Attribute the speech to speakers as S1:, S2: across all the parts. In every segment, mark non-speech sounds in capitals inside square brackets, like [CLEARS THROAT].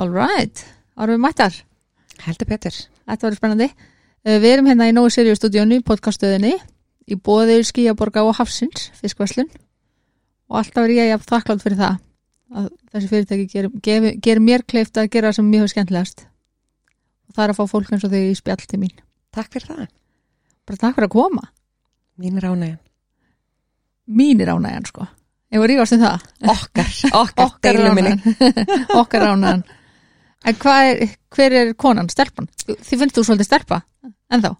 S1: All right, árum við mættar
S2: Heldur Petur.
S1: Þetta verður spennandi Eh, Við erum hérna í Nói Sirius stúdíónu, podcaststöðinni í bóðið skýjaborga og hafsins fiskverslun og alltaf er ég jafn þakklátt fyrir það að þessi fyrirtæki gerir ger, ger mér kleift að gera það sem mjög skemmtilegast og það er að fá fólk eins og þau í spjall til mín
S2: Takk fyrir það.
S1: bara takk fyrir að koma,
S2: Mín er [LAUGHS] ánægjan.
S1: mín er ánægjan sko ég var rífast um það
S2: Okkar. Okkar,
S1: okkar
S2: deilu minni.
S1: ránaðan [LAUGHS] okkar ránaðan en hvað er, hver er konan, stelpan þið finnst þú svolítið stelpa, en þá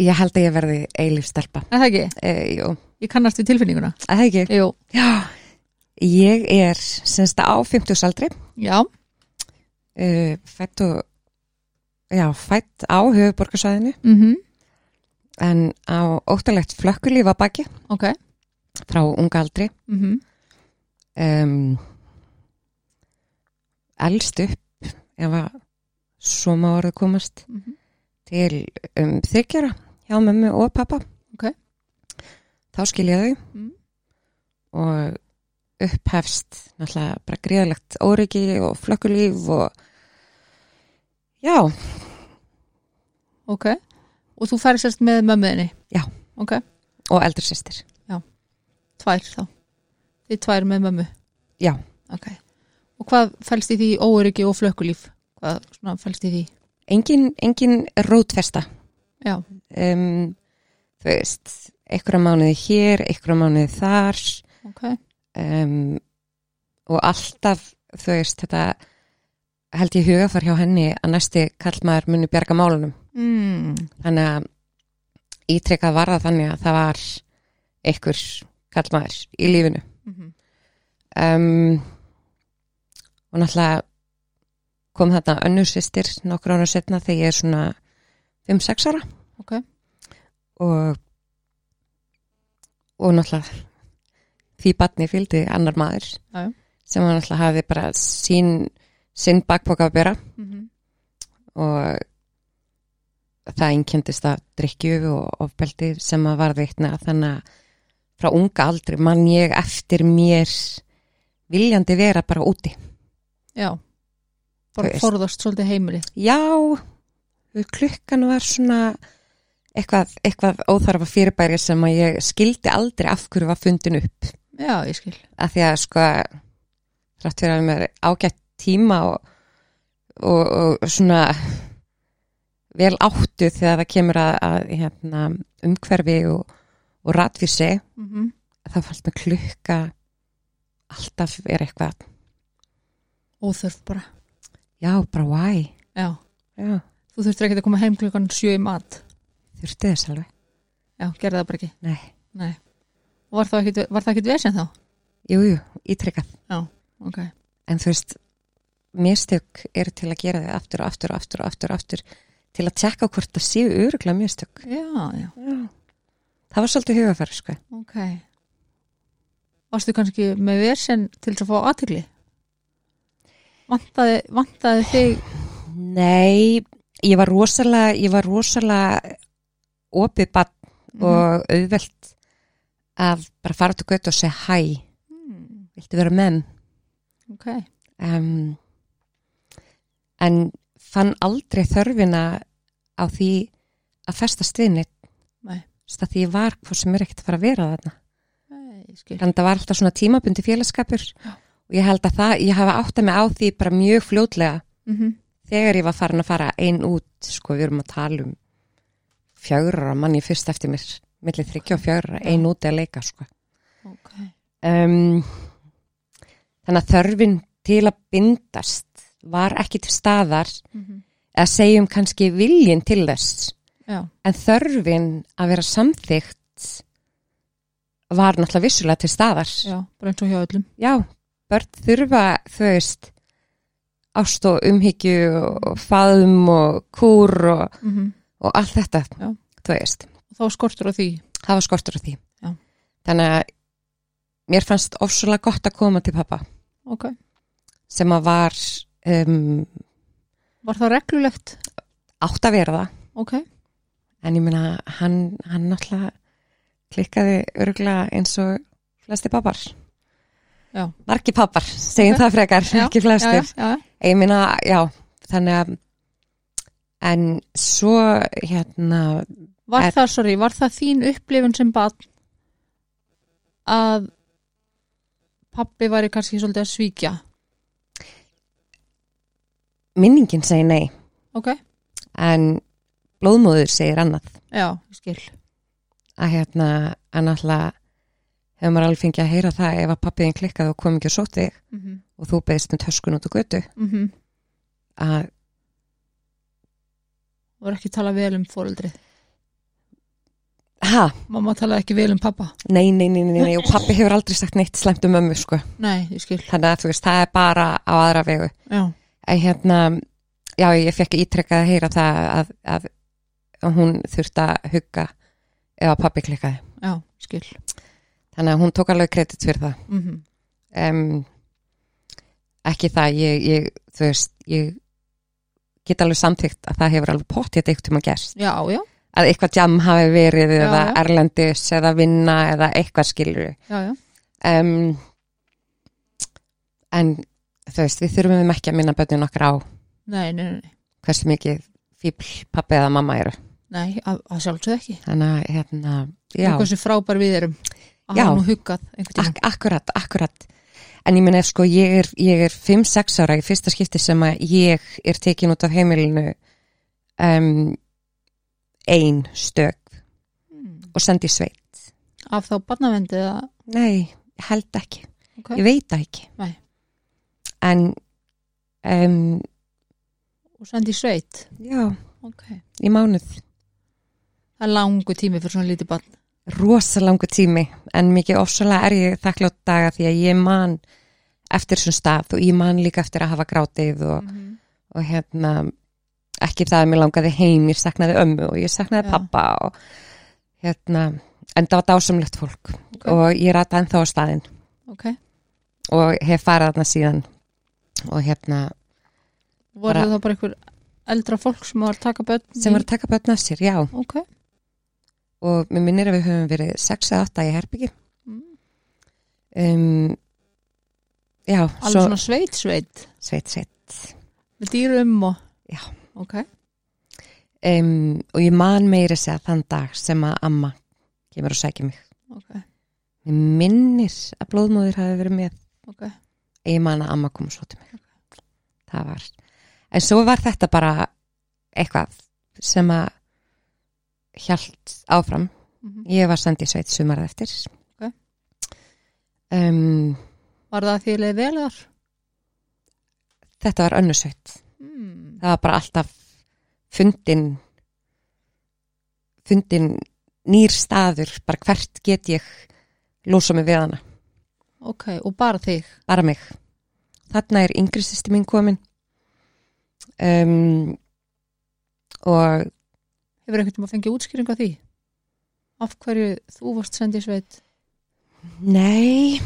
S2: Ég held að ég verði eilif stelpa.
S1: er það ekki,
S2: E, jú,
S1: ég kannast við tilfinninguna
S2: að það ekki.
S1: jú,
S2: Já. Ég er semst á 50 aldri.
S1: já,
S2: E, fætt og, já, fætt á höfuborgarsvæðinu
S1: mhm
S2: en á óttalegt flökkulíf að baki
S1: ok,
S2: frá unga aldri.
S1: mhm
S2: Um, elst upp, ef að svo má orðið komast,
S1: Mhm.
S2: til um, þykjara hjá mömmu og pappa.
S1: Ok.
S2: Þá skil ég þau
S1: Mm.
S2: og upphefst náttúrulega bara gríðalegt óryggi og flökkulíf og já,
S1: ok og þú færi sérst með mömmuðinni
S2: Já.
S1: ok,
S2: og eldri sýstir.
S1: tvær þá þið tvær með mömmu
S2: Já.
S1: ok, og hvað fælst í því óöryggi og flökkulíf hvað svona fælst í því
S2: Engin, engin rótfesta.
S1: já,
S2: Um, þú veist, einhverja mánuði hér, einhverja mánuði þar.
S1: ok,
S2: um, og alltaf þú veist þetta held ég hugafar hjá henni að næsti kallmaður muni bjarga málunum
S1: mm.
S2: þannig að ítrekkað var það þannig að það var einhver kallmaður í lífinu
S1: Mm -hmm.
S2: um, og náttúrulega kom þarna önnur sýstir nokkur ára setna þegar ég er svona 5-6 ára
S1: ok,
S2: og, og náttúrulega því batni fylgdi annar maður
S1: Já, já.
S2: sem hann náttúrulega hafi bara sín, sín bakpoka að bera
S1: mm
S2: og það einkendist að drikju og ofbeldi sem að var veitna þannig að frá unga aldri mann ég eftir mér viljandi vera bara úti
S1: já bara
S2: Þú veist.
S1: forðast svolítið heimilið
S2: já klukkan var svona eitthvað, eitthvað óþarfa fyrirbæri sem að ég skildi aldrei af hverju var fundin upp
S1: já, ég skil,
S2: að því að sko þrátt fyrir að mér ágætt tíma og, og, og svona vel áttu þegar það kemur að, að hérna, umhverfi og, og ratvísi
S1: mm
S2: Mhm. þá fannst mér klukka alltaf er eitthvað
S1: óþörf bara
S2: já, bara why
S1: já,
S2: já,
S1: þú þurftir ekki að koma heim klukkan sjö í mat
S2: þurfti þess alveg
S1: já, gerði það bara ekki
S2: nei,
S1: Nei. Og var það ekkit, var það ekkit vesinn þá?
S2: jú, jú, ítrekkað
S1: ok,
S2: en þú veist, mistök eru til að gera þau aftur og aftur og aftur og aftur, og aftur til að tjekka hvort það séu öruglega mistök
S1: já, já
S2: já. það var svolítið hugafæri sko
S1: Ok. Varstu kannski með versen til þess að fá aðtegli? Vantaði, vantaði þig,
S2: Nei, ég var rosalega, ég var rosalega opið bann og auðvelt að bara fara til götu og segja hæ,
S1: mm,
S2: viltu vera menn?
S1: ok,
S2: Um, en fann aldrei þörfina á því að festa stiðnit.
S1: Nei.
S2: Það því ég var hvað sem er ekkert að fara að vera þarna.
S1: Nei, ég skil.
S2: Þannig að það var alltaf svona tímabundi félagskapur og ég held að það, ég hafa átt að mig á því bara mjög fljótlega
S1: Mm
S2: þegar ég var farin að fara einn út sko við erum að tala um fjögra manni fyrst eftir mér millið þryggja og fjögra, einn út að leika sko.
S1: Ok,
S2: um, þannig að þörfin til að bindast var ekki til staðar
S1: mm
S2: að segjum kannski viljin til þess
S1: já,
S2: en þörfin að vera samþygt var náttúrulega vissulega til staðar
S1: já, bara eins og hjá öllum.
S2: já, börn þurfa þau veist ást og umhyggju og faðum og kúr og
S1: Mm
S2: og allt þetta,
S1: Já.
S2: þú veist,
S1: Þá skortur á því.
S2: það var skortur á því.
S1: Já.
S2: Þannig að mér fannst ofsvölega gott að koma til pappa
S1: Ok,
S2: sem að var um,
S1: var það reglulegt?
S2: átt að vera það,
S1: Ok,
S2: en ég meina hann, hann náttúrulega klikkaði örgulega eins og flesti pappar.
S1: Já.
S2: margi pappar, segjum
S1: Ok.
S2: það frekar
S1: Já,
S2: ekki
S1: já, já,
S2: flestir
S1: já,
S2: ég meina, já, þannig að en svo hérna,
S1: Var
S2: Er-
S1: það, sorry, var það þín upplifun sem barn að pappi væri kannski svolítið að svíkja?
S2: minningin segir nei
S1: Ok,
S2: en blóðmóður segir annað
S1: já, ég skil.
S2: að hérna, að náttúrulega hefur maður alveg fengið að heyra það ef að pappiðin klikkaði og kom ekki og sótt þig
S1: Mm -hmm.
S2: og þú beðist með töskun út á götu að
S1: Þú voru ekki að tala vel um fóreldrið.
S2: ha,
S1: Mamma talaði ekki vel um pappa.
S2: nei, nei, nei, nei, nei og pappi hefur aldrei sagt neitt slæmt um mömmu sko.
S1: Nei, ég skil.
S2: þannig að þú veist, það er bara á aðra vegu
S1: Já,
S2: en hérna, já, ég fekk ítrekkað að heyra það að, að, að hún þurfti að hugga ef að pappi klikkaði
S1: já, ég skil.
S2: þannig að hún tók alveg kredit fyrir það
S1: Mm
S2: um, ekki það ég, ég, þú veist, ég get alveg samþygt að það hefur alveg pottið eitthvað um að gerst
S1: Já, já,
S2: að eitthvað jam hafi verið
S1: Já,
S2: eða
S1: já.
S2: erlendis eða vinna eða eitthvað skilur
S1: já, já.
S2: um, en þú veist, við þurfum ekki að minna bönnum okkar á
S1: Nei, nei, nei, nei.
S2: hversu mikið fíbl pappi eða mamma eru
S1: nei að, að sjálfsög ekki.
S2: þannig að hérna, já,
S1: Hversu frábær við erum að
S2: Já.
S1: hafa nú huggað einhvern tímann.
S2: ak akkurat, akkurat en ég meni sko, ég er, ég er 5-6 ára í fyrsta skipti sem að ég er tekin út af heimilinu um, ein stök
S1: Mm.
S2: og sendi í sveit
S1: Af þá barnavendið að,
S2: nei, ég held ekki
S1: ok,
S2: ég veit það ekki
S1: Nei.
S2: en um,
S1: og sendi í sveit.
S2: já,
S1: Ok.
S2: í mánuð
S1: Það er langu tími fyrir svona lítið barn.
S2: rosalangu tími en mikið ofsalega er ég þakklátt daga því að ég man eftir þessum stað og ég man líka eftir að hafa grátið og,
S1: Mm -hmm.
S2: og hérna ekki það að mér langaði heim, ég saknaði ömmu og ég saknaði
S1: Já.
S2: pappa og hérna, en það var dásamlegt fólk og ég rataði ennþá á staðinn
S1: Ok.
S2: og hef farið þarna síðan og hérna,
S1: Voru
S2: Bara-
S1: það bara einhver eldra fólk sem var að taka börn?
S2: sem
S1: í-
S2: var að taka börn af sér, já
S1: Ok.
S2: og mér minnir að við höfum verið 6 eða 8 í herbyggi
S1: Mm.
S2: um, já,
S1: Alveg
S2: svo
S1: svona sveit, sveit.
S2: sveit, sveit
S1: Með dýrum og...
S2: Já.
S1: Ok.
S2: um, og ég man meira að segja þann dag sem að amma kemur og sækja mig
S1: Ok.
S2: ég minnir að blóðmóður hafi verið með
S1: Ok.
S2: ég man að amma kom og svo til mig það var, en svo var þetta bara eitthvað sem að hjælt áfram
S1: Mm
S2: ég var sendið sveit sumarað eftir
S1: Ok.
S2: um,
S1: Var það því leið vel þar?
S2: þetta var önnu sveit
S1: Mm.
S2: það var bara alltaf fundin fundin nýr staður bara hvert get ég lósa mig við hana,
S1: Ok, og bara þig.
S2: bara mig þarna er yngri sýsti mín komin um, og
S1: Hefur einhvern veginn að fengið útskýring á því? Af hverju þú varst sendið sveit?
S2: nei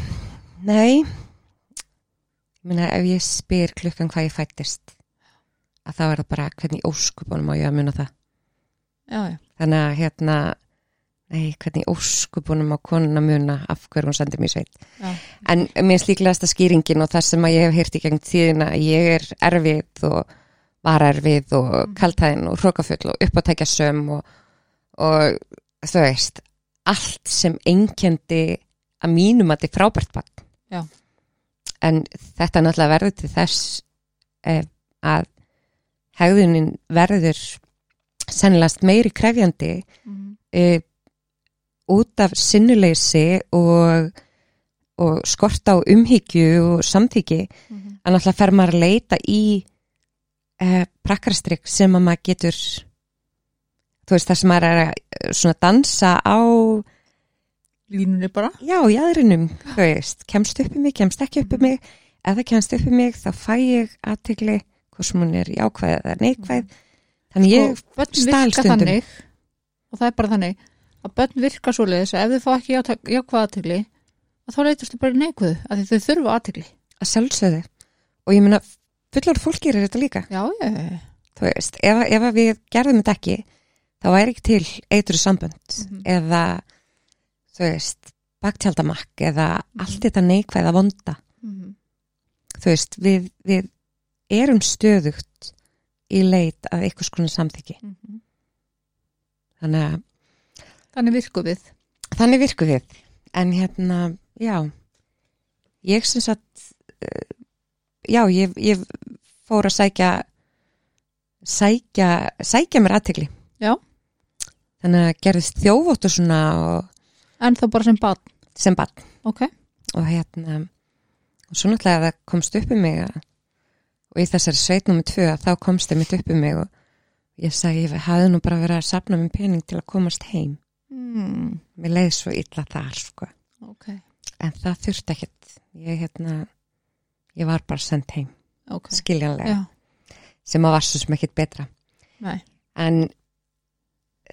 S2: nei ég meina ef ég spyr klukkan hvað ég fættist að þá er það bara hvernig í óskupunum á ég að muna það
S1: Já, já.
S2: þannig að hérna nei, hvernig í óskupunum á konuna muna af hverju hún sendir mér sveit
S1: Já.
S2: en mér finnst líklegasta skýringin og það sem að ég hef heyrt í gegn tíðina að ég er erfið og var erfið og
S1: Mhm.
S2: kaltæðin og hrókafull og uppátækja söm og, og þú veist allt sem einkendi að mínum að þið frábært bann
S1: Já.
S2: en þetta náttúrulega verður til þess eh, að hegðunin verður sennilegast meiri krefjandi
S1: Mm.
S2: uh, út af sinnuleysi og, og skort á umhyggju og samþyggi
S1: Mm.
S2: að náttúrulega fer maður að leita í uh, prakkarstrykk sem að maður getur þú veist það sem maður er að eh, svona dansa á
S1: Línunni bara?
S2: já, jáðrinum, þú veist kemst upp um mig, kemst ekki upp um mig ef það kemst upp um mig þá fæ ég aðtegli hvort sem hún er jákvæð eða neikvæð þannig ég,
S1: og börn
S2: stal
S1: virka
S2: stundum.
S1: þannig og það er bara þannig að börn virka svo leiðis að ef þau fá ekki játtak- jákvæða aðtegli að þá leytast þau bara neikvæðu að því þau þurfa aðtegli
S2: að sjálfsögðu og ég meina fullor fólk gerir þetta líka
S1: já, ég, mm
S2: þú veist, ef, ef að við gerðum þetta ekki þá væri ekki til eitru sambönd
S1: Mhm.
S2: eða þú veist, baktjaldamakk eða allt þetta neikvæða vonda
S1: Mhm,
S2: þú veist, við, við erum stöðugt í leit að einhvers konar samþyggi
S1: mhm.
S2: þannig að
S1: Þannig virkum við
S2: þannig virku við en hérna, já ég syns að já, ég, ég fór að sækja sækja sækja mér aðtegli
S1: Já.
S2: þannig að gerðist þjófóttu svona og,
S1: En þá bara sem barn,
S2: sem barn
S1: ok?
S2: og hérna og svo náttúrulega það komst upp um mig að, og í þessari sveit nummer tvö að þá komst það mitt upp um mig og ég sagði, ég hafði nú bara verið að safna mér pening til að komast heim
S1: Mm,
S2: mér leiði svo illa þar sko.
S1: ok,
S2: en það þurfti ekkert ég, hérna, ég var bara sendt heim
S1: ok
S2: skiljanlega,
S1: Já,
S2: sem að var svo sem ekkert betra
S1: nei
S2: en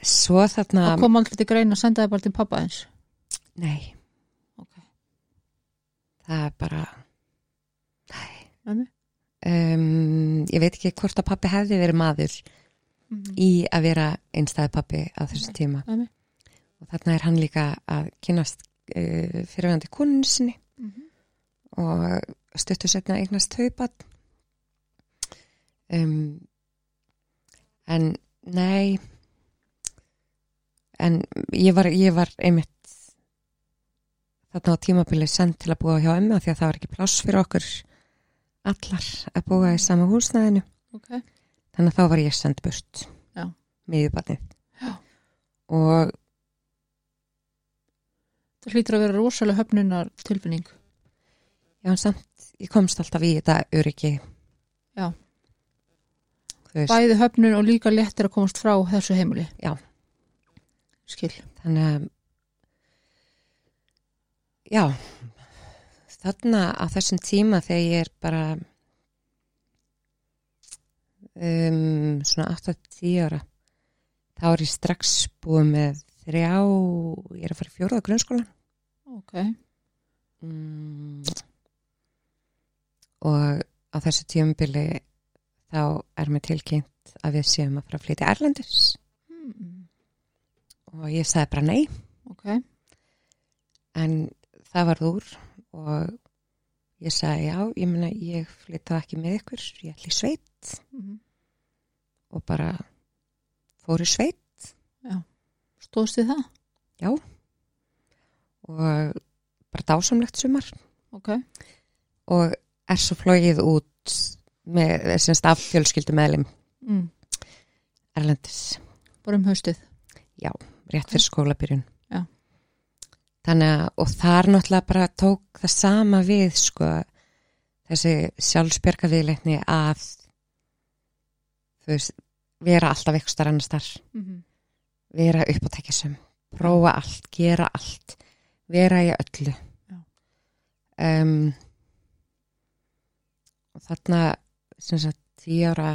S2: svo þarna
S1: Það kom aldrei til grein og sendaði bara til pappa eins
S2: nei,
S1: Ok,
S2: það er bara
S1: Nei.
S2: um, ég veit ekki hvort að pappi hefði verið maður
S1: Mhm.
S2: í að vera einstæði pappi á þessum tíma
S1: Æmi.
S2: og þarna er hann líka að kynast uh, fyrirvægandi konun sinni
S1: Mhm.
S2: og stuttu setna eignast haupat um, en nei en ég var, ég var einmitt þarna á tímabili send til að búa hjá emma því að það var ekki pláss fyrir okkur allar að búa í sama húsnæðinu
S1: ok
S2: þannig að þá var ég send burt
S1: Já.
S2: miðjubarnið
S1: Já.
S2: og
S1: Það hlýtur að vera rosalega höfnunar tilfinning
S2: já, en samt, ég komst alltaf í þetta öryggi
S1: Já.
S2: Þú veist,
S1: Bæði höfnun og líka léttir að komast frá þessu heimili
S2: Já.
S1: Skil
S2: þannig að já þarna á þessum tíma þegar ég er bara um, svona 8-10 ára þá er ég strax búið með þrjá ég er að fara í fjóruða grunnskóla
S1: Ok,
S2: Mm. og á þessu tímubili þá er mér tilkynnt að við séum að fara að flytja Erlendis
S1: mm,
S2: og ég sagði bara nei
S1: ok
S2: en það var úr og ég sagði já, ég meina ég flytta ekki með ykkur, ég ætla í sveit
S1: Mhm.
S2: og bara fór í sveit
S1: Stóðst þið það?
S2: og bara dásamlegt sumar
S1: Ok,
S2: og er svo flóið út með þessum staf fjölskyldu meðlum
S1: mm.
S2: Erlendis
S1: bara um haustið
S2: rétt fyrir skólabyrjun
S1: Já.
S2: þannig að og þar náttúrulega bara tók það sama við sko þessi sjálfsbjörga viðleitni að þú veist vera alltaf ykkur starf annars þar
S1: mm -hmm.
S2: vera upp á tekjasum, prófa allt gera allt, vera í öllu um, og þarna sem sagt tíu ára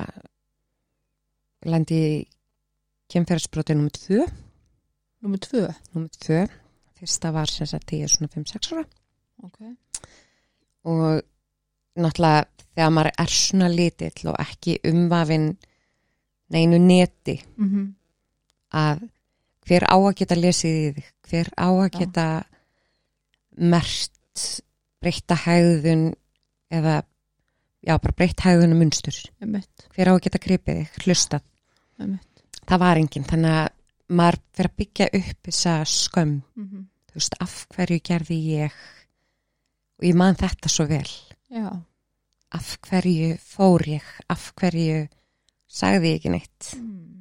S2: lendi kemferðsbrótið nummer 2
S1: Númer tvö
S2: Númer tvö, fyrsta var sem sagt ég er svona 5-6 ára
S1: Ok,
S2: og náttúrulega þegar maður er svona lítill og ekki umvafin neinu neti
S1: mm
S2: að hver á að geta lesið í þig, hver á að
S1: Já.
S2: geta mert breytta hægðun eða já bara breytt hægðun og munstur,
S1: emitt,
S2: hver á að geta gripið þig, hlusta,
S1: emitt
S2: það var enginn þannig að maður fyrir að byggja upp þessa skömm
S1: mm -hmm.
S2: þú veist, af hverju gerði ég og ég man þetta svo vel
S1: Já,
S2: af hverju fór ég af hverju sagði ég ekki neitt
S1: mm.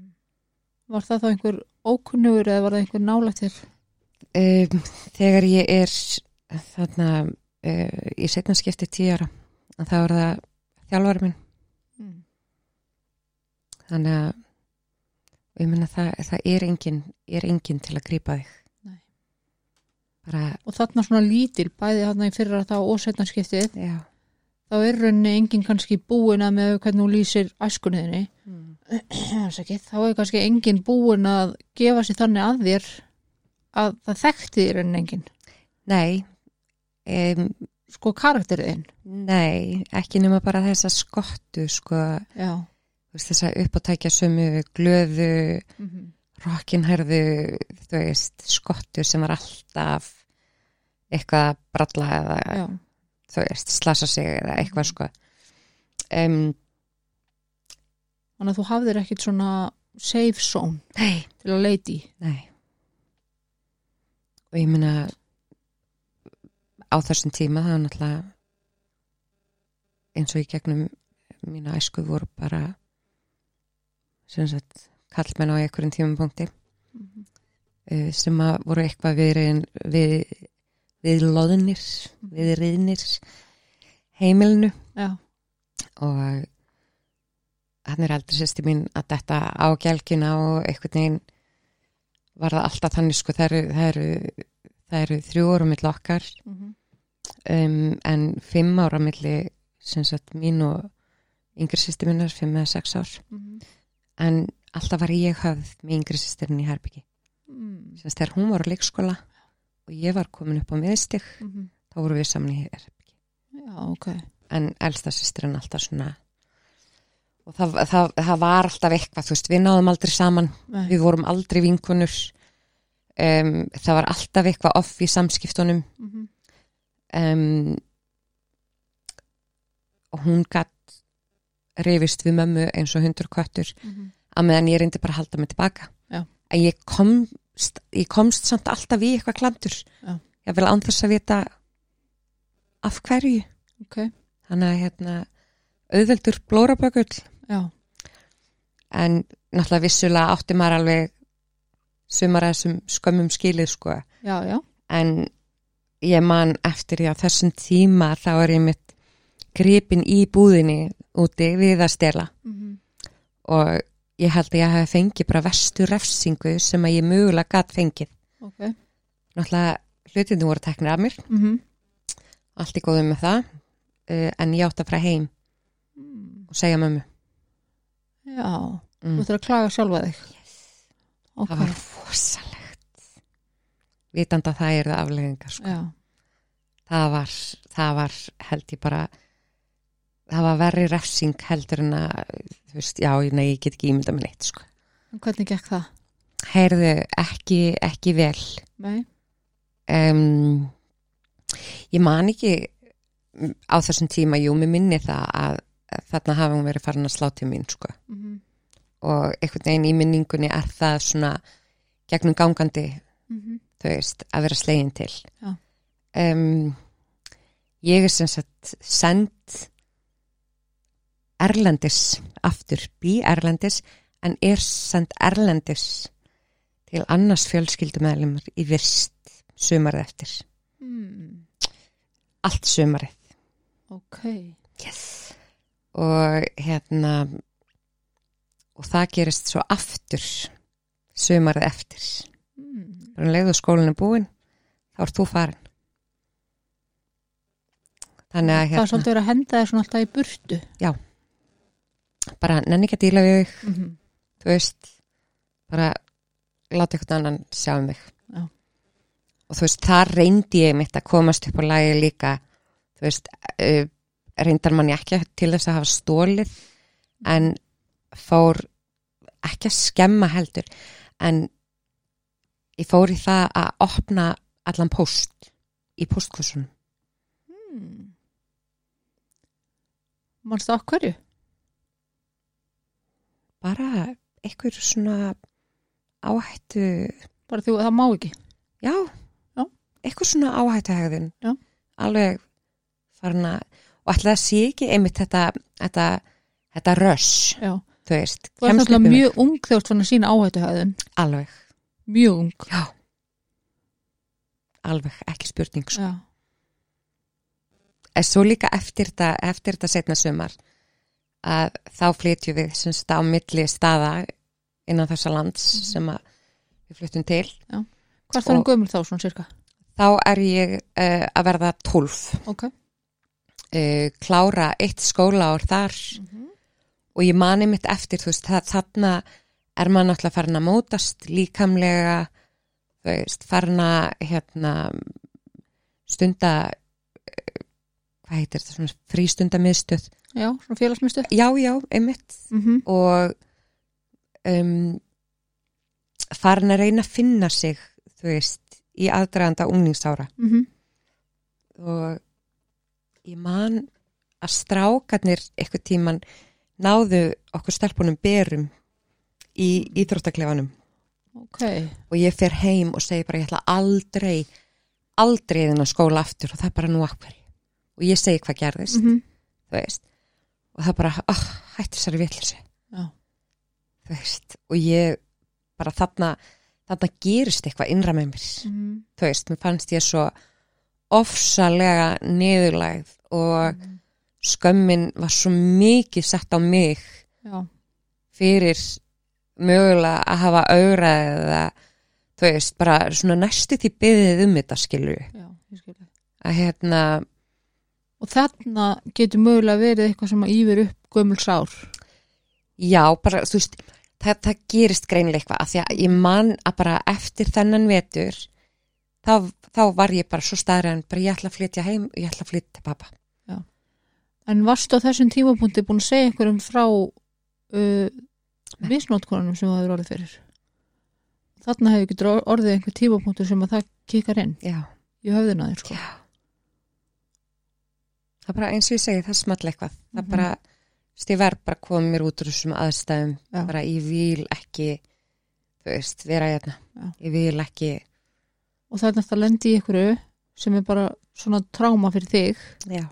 S1: Var það þá einhver ókunnugur eða var það einhver nálættir?
S2: um, þegar ég er þarna uh, í setna skipti tíu ára að þá er það þjálfari minn
S1: Mm.
S2: þannig að og ég meina það, það er, engin, er engin til að grípa þig
S1: Nei.
S2: bara,
S1: Og þarna svona lítil, bæði þarna í fyrra þá og setna skiptið
S2: já
S1: þá er rauninni enginn kannski búin að með hvernig hún lýsir æskunniðinni [CLEARS THROAT]
S2: mm.
S1: Sækki, þá er kannski enginn búin að gefa sér þannig að þér að það þekkti þér en enginn
S2: nei um,
S1: sko karakteriðin
S2: nei, ekki nema bara þessa skottu sko
S1: já,
S2: þú veist, þess að uppátækja sömu glöðu,
S1: mm -hmm.
S2: rockinherðu þú veist, skottu sem var alltaf eitthvað að bralla eða
S1: já,
S2: þú veist, slasa sig eða eitthvað sko um,
S1: þannig að þú hafðir ekkit svona safe zone
S2: Nei,
S1: til að leiti í.
S2: nei og ég meina á þessum tíma það var náttúrulega eins og í gegnum mína æsku voru bara sem sagt kallmenn á einhverjum tímapunkti
S1: Mhm.
S2: eh, sem að voru eitthvað við, reyn- við, við loðnir við riðnir heimilinu
S1: Mhm. já,
S2: og hann er aldrei sýsti mín að detta á gælgina og einhvern veginn var það alltaf þannig sko það eru, það eru, það eru þrjú ára mill okkar
S1: Mhm.
S2: um, en fimm ára milli sem sagt mín og yngri sýsti mínar, fimm eða sex ár
S1: Mhm.
S2: en alltaf var ég höfð með yngri sýstirinn í herbyggi
S1: Mm.
S2: sem sagt þegar hún var á leikskóla og ég var komin upp á miðstig
S1: Mhm.
S2: þá voru við saman í herbyggi
S1: já, ok
S2: en elsta sýstirinn alltaf svona og það, það, það var alltaf eitthvað, þú veist, við náðum aldrei saman
S1: Nei.
S2: við vorum aldrei vinkunur um, það var alltaf eitthvað off í samskiptunum
S1: Mhm.
S2: um, og hún gatt reyfist við mömmu eins og hundur köttur
S1: Mhm.
S2: að meðan ég reyndi bara að halda mig tilbaka
S1: Já.
S2: en ég komst, ég komst samt alltaf í eitthvað klandur
S1: Já.
S2: ég vil anþess að vita af hverju
S1: ok,
S2: þannig að hérna auðveldur blórabökull
S1: já,
S2: en náttúrulega vissulega átti maður alveg sumar að þessum skömmum skilið sko
S1: já, já
S2: en ég man eftir því að þessum tíma þá er ég mitt gripin í búðinni úti við að stela
S1: Mhm.
S2: og ég held að ég hafi fengið bara vestu refsingu sem að ég mögulega gat fengið
S1: ok
S2: náttúrulega hlutinu voru teknir af mér
S1: Mhm.
S2: allt í góðu með það uh, en ég átti að fara heim
S1: Mm.
S2: og segja mömmu
S1: já,
S2: Mm.
S1: þú ættir að klaga sjálfa þig
S2: yes.
S1: ok,
S2: það var fósalegt vitandi að það er það afleggingar sko.
S1: já,
S2: það var, það var held ég bara það var verri refsing heldur en að þú veist, já, nei, ég get ekki ímynda með neitt sko.
S1: en hvernig gekk það?
S2: heyrðu, ekki, ekki vel
S1: nei,
S2: um, ég man ekki mm, á þessum tíma, jú, mér minni það að að þarna hafi hún verið farin að slá til mín sko.
S1: Mhm.
S2: og einhvern veginn í minningunni er það svona gegnum gangandi
S1: Mhm.
S2: þú veist, að vera slegin til
S1: Já.
S2: um, ég er sem sagt send Erlendis aftur, bý Erlendis en er send Erlendis til annars fjölskyldumæðlumar í vist sumarið eftir,
S1: Mm.
S2: allt sumarið
S1: ok,
S2: yes. og hérna og það gerist svo aftur sumarið eftir
S1: Mm.
S2: Þegar hann leiður skólinu búin, þá ert þú farin. Þannig að
S1: það er
S2: hérna,
S1: svolítið verið að henda þér svona alltaf í burtu
S2: bara nenni ekki að díla við þig,
S1: Mhm.
S2: þú veist, bara láta eitthvað annan sjá um þig.
S1: Já.
S2: Og þú veist, þar reyndi ég mitt að komast upp á lagi líka, þú veist, uh, reyndar mann ég ekki til þess að hafa stólið, en fór ekki að skemma heldur, en ég fór í það að opna allan póst í póstkossunum.
S1: Mm. Manstu af hverju?
S2: bara einhver svona áhættu
S1: Bara því að það má ekki.
S2: já,
S1: Já.
S2: einhver svona áhættuhegðun
S1: Já.
S2: alveg farin að og alltaf það sé ekki einmitt þetta þetta, þetta röss,
S1: Já.
S2: þú veist
S1: Þú ert
S2: kemst upp
S1: alltaf
S2: um
S1: mjög ung þegar þú ert fann að sína áhættuhæðun.
S2: mig. alveg,
S1: Mjög ung.
S2: já alveg, ekki spurning sko.
S1: Já.
S2: en svo líka eftir þetta eftir þetta setna sumar að þá flytjum við sem sagt á milli staða innan þessa lands
S1: Mhm.
S2: sem að við flyttum til
S1: Hvað er það um
S2: Og-
S1: gömul þá svona cirka?
S2: þá er ég uh, að verða 12
S1: Ok.
S2: uh, klára eitt skólaár þar
S1: Mhm.
S2: og ég mani mitt eftir þú veist, það, þarna er maður náttúrulega farin að mótast líkamlega þú veist, farin að hérna stunda eh, hvað heitir þetta, svona frístundamiðstöð
S1: Já, svona félagsmyndstu.
S2: já, já, einmitt
S1: Mm -hmm.
S2: og um, farin að reyna að finna sig þú veist, í aðdraganda ungningsára
S1: Mm -hmm.
S2: og ég man að strákarnir eitthvað tíman náðu okkur stelpunum berum í íþróttaklefanum
S1: ok,
S2: og ég fer heim og segi bara ég ætla aldrei aldrei í þennan skóla aftur og það er bara nú akkur og ég segi hvað gerðist
S1: Mhm.
S2: þú veist og það bara, oh, hætti sér villisi
S1: Já.
S2: þú veist og ég bara þarna þarna gerist eitthvað innra með mér
S1: Mhm.
S2: þú veist, mér fannst ég svo ofsalega niðurlægð og skömmin var svo mikið sett á mig
S1: já,
S2: fyrir mögulega að hafa augrað eða þú veist, bara svona næstu því byðið um þetta skilu
S1: já, ég skil það
S2: að hérna,
S1: og þarna getur mögulega verið eitthvað sem að yfir upp gömul sár
S2: já, bara þú veist, það, það gerist greinilega eitthvað, af því að ég man að bara eftir þennan vetur þá, þá var ég bara svo staðræðan bara ég ætla að flytja heim, ég ætla að flytja til pappa
S1: en varstu á þessum tímapunkti búin að segja einhverjum frá uh, misnótkonunum sem þú hefur orðið fyrir þarna hefur getur orðið einhver tímapunktur sem að það kikar inn
S2: já,
S1: í höfðina þér sko
S2: já það er bara eins og ég segi, það small eitthvað það
S1: Mhm.
S2: bara, þú veist, ég verð bara að koma mér út úr þessum aðstæðum
S1: Já.
S2: bara ég vil ekki þú veist, vera hérna
S1: Já.
S2: ég vil ekki,
S1: og það er nætt að lendi í einhverju sem er bara svona tráma fyrir þig
S2: já,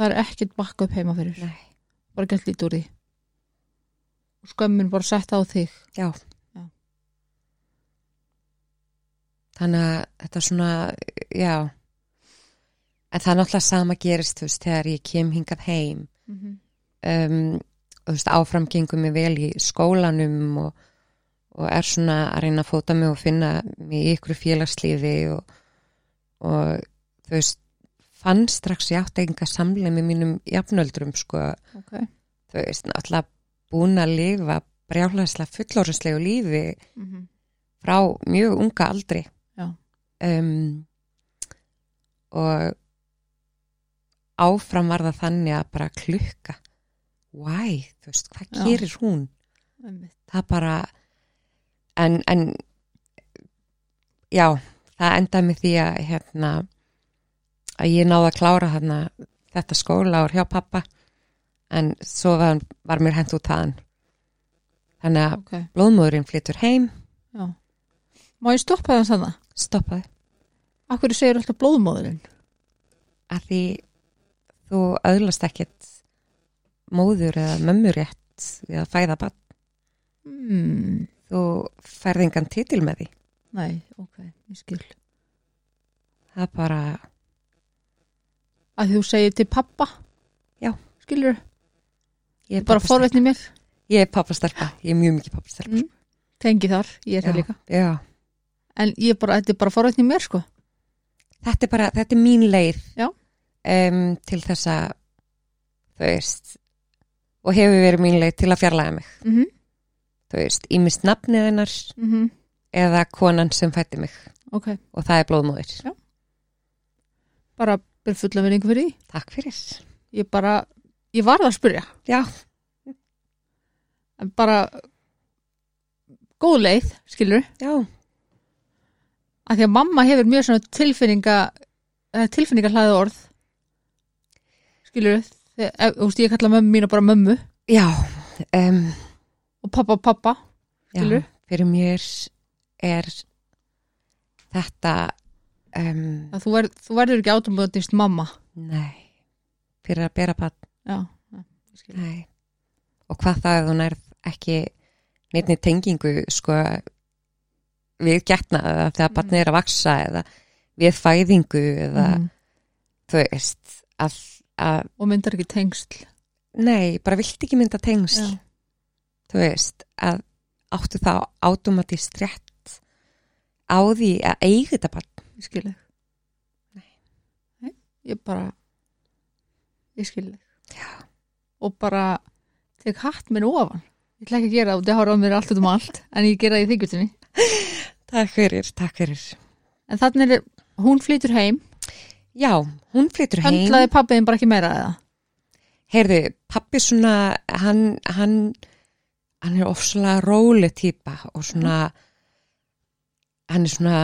S1: það er ekkert bakka upp heima fyrir
S2: nei
S1: bara gett lítið úr því og skömmin bara sett á þig
S2: já.
S1: Já.
S2: þannig að þetta svona já en það er náttúrulega sama gerist þú veist, þegar ég kem hingað heim
S1: Mhm.
S2: um, og þú veist, áfram gengum mér vel í skólanum og, og er svona að reyna að fóta mig og finna mig í ykkur félagslífi og, og þú veist fann strax ég átti enga samlega með mínum jafnöldrum sko,
S1: ok,
S2: þú veist, náttúrulega búin að lifa brjálæðislega fullorðslegu lífi
S1: Mhm.
S2: frá mjög unga aldri
S1: Já.
S2: um, og áfram var það þannig að bara klukka why, þú veist, hvað
S1: Já.
S2: gerir hún
S1: Einmitt.
S2: það bara en, en já, það endaði með því að hérna að ég náði að klára þarna þetta skóla hjá pappa en svo var, var mér hent út þaðan þannig að
S1: ok,
S2: blóðmóðurinn flyttur heim
S1: já má ég stoppa það þannig?
S2: stoppaði
S1: Akkur segir alltaf blóðmóðurinn
S2: að því þú öðlast ekkit móður eða mömmurétt við að fæða bann
S1: mm.
S2: þú færði engan titil með því
S1: nei, ok, ég skil
S2: það er bara,
S1: að þú segir til pappa
S2: Já.
S1: skilur,
S2: ég er
S1: bara
S2: pabbastelpa.
S1: forvetni mér
S2: ég er pappastelpa, ég er mjög mikið pappastelpa
S1: Mm, tengi þar, ég er það
S2: Já.
S1: líka
S2: já,
S1: en ég bara, þetta er bara forvetni mér sko
S2: þetta er bara, þetta er mín leið
S1: Já.
S2: Em, til þess að þú veist og hefur verið mín leið til að fjarlæga mig
S1: mm -hmm.
S2: þú veist, ímist nafnið hennar mhm. eða konan sem fætti mig
S1: ok,
S2: og það er blóðmóður
S1: Já. bara ber fulla vinningu fyrir því
S2: takk fyrir
S1: ég bara, ég varð að spyrja
S2: já,
S1: en bara góð leið, skilur
S2: já,
S1: að því að mamma hefur mjög svona tilfinninga eh, tilfinninga hlaðið orð skilur þegar, ef- þú veist, ég kalla mömmu mína bara mömmu
S2: já um,
S1: og pappa pappa
S2: Já,
S1: Skilurðu?
S2: fyrir mér er þetta um,
S1: að þú, ver, þú verður ekki átumöðist mamma
S2: nei, fyrir að bera bann,
S1: já, já, ég skil.
S2: nei og hvað það að þú nærð ekki neittni tengingu sko við getna eða þegar
S1: Mm.
S2: mm. barnið er að vaksa eða við fæðingu eða
S1: Mhm.
S2: þú veist að, að,
S1: og myndar ekki tengsl
S2: nei, bara vilt ekki mynda tengsl
S1: Já.
S2: þú veist að áttu þá automatist rétt á því að eiga þetta barn
S1: ég skil þig Nei, ég bara ég skil þig
S2: Já.
S1: og bara tek hatt minn ofan ég ætla ekki að gera það, það horfa á mér allt út um allt en ég gera það í þykjutinni
S2: Takk fyrir, takk fyrir.
S1: en þannig er, hún flytur heim
S2: Já, hún flyttur heim.
S1: höndlaði pappiðin bara ekki meira eða
S2: Heyrðu, pappi svona, hann, hann, hann er ofsalega [LAUGHS] róli típa og svona, hann er svona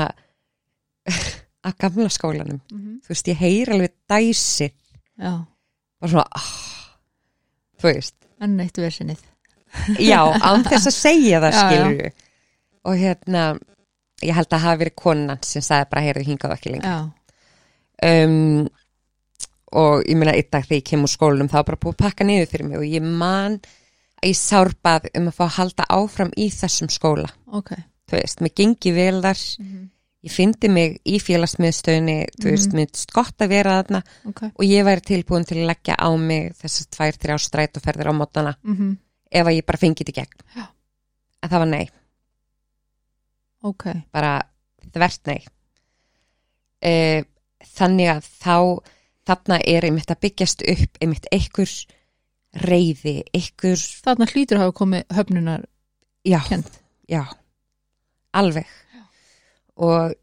S2: að gamla skólanum
S1: mm
S2: þú veist, ég heyr alveg dæsi
S1: Já,
S2: bara svona ah, þú veist,
S1: enn eitt versinnið
S2: já, án þess að segja það
S1: [LAUGHS] Já, já.
S2: skilur og hérna, ég held að hafi verið konan sem sagði bara, heyrðu hingað ekki lengi
S1: Já,
S2: um, og ég meina einn dag þegar ég kem úr skólanum þá var bara búið að pakka niður fyrir mig og ég man að ég sárbað um að fá að halda áfram í þessum skóla
S1: ok
S2: þú veist, mér gengi vel þar
S1: Mhm.
S2: ég fyndi mig í félagsmiðstöðinni þú veist, mér finnst gott að vera þarna
S1: Ok
S2: og ég væri tilbúin til að leggja á mig þessar tvær, þrjá strætóferðir á mótana
S1: mm
S2: ef að ég bara fengi þetta í gegn
S1: Já.
S2: en það var nei,
S1: Ok,
S2: bara þvert nei e, þannig að þá þarna er einmitt að byggjast upp einmitt einhver reyði, einhver
S1: þarna hlýtur að hafa komið höfnunar
S2: já,
S1: kent
S2: já, alveg og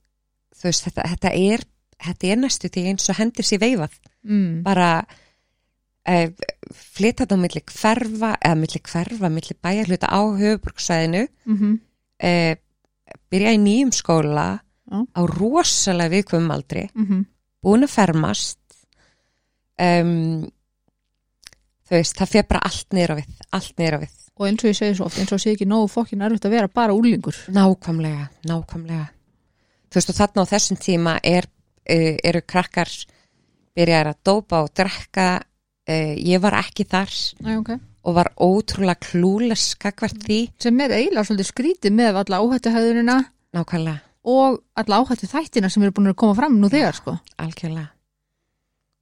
S2: þú veist, þetta, þetta er þetta er næstu því eins og hendur sér veifað
S1: mm.
S2: bara eh, flytta þetta á milli hverfa eða milli hverfa, milli bæjarluta á höfuborgsvæðinu
S1: mm -hmm.
S2: eh, byrja í nýjum skóla
S1: Já.
S2: á rosalega viðkvömmum aldri
S1: Mm -hmm.
S2: búin að fermast um, þú veist, það fer bara allt niður á við allt niður á við
S1: Og eins og ég segi svo oft, eins og sé ekki nógu fokkin erfitt að vera bara úlingur
S2: Nákvæmlega, nákvæmlega. Þú veist og þarna á þessum tíma er, uh, eru krakkar byrjar að dópa og drekka. Uh, ég var ekki þar
S1: Æ, okay.
S2: og var ótrúlega klúleska hvert því.
S1: Sem er eiginlega svolítið skrítið með alla áhættu höfðunina
S2: Nákvæmlega,
S1: og alla áhættu þættina sem eru búin að koma fram nú þegar sko
S2: algjörlega.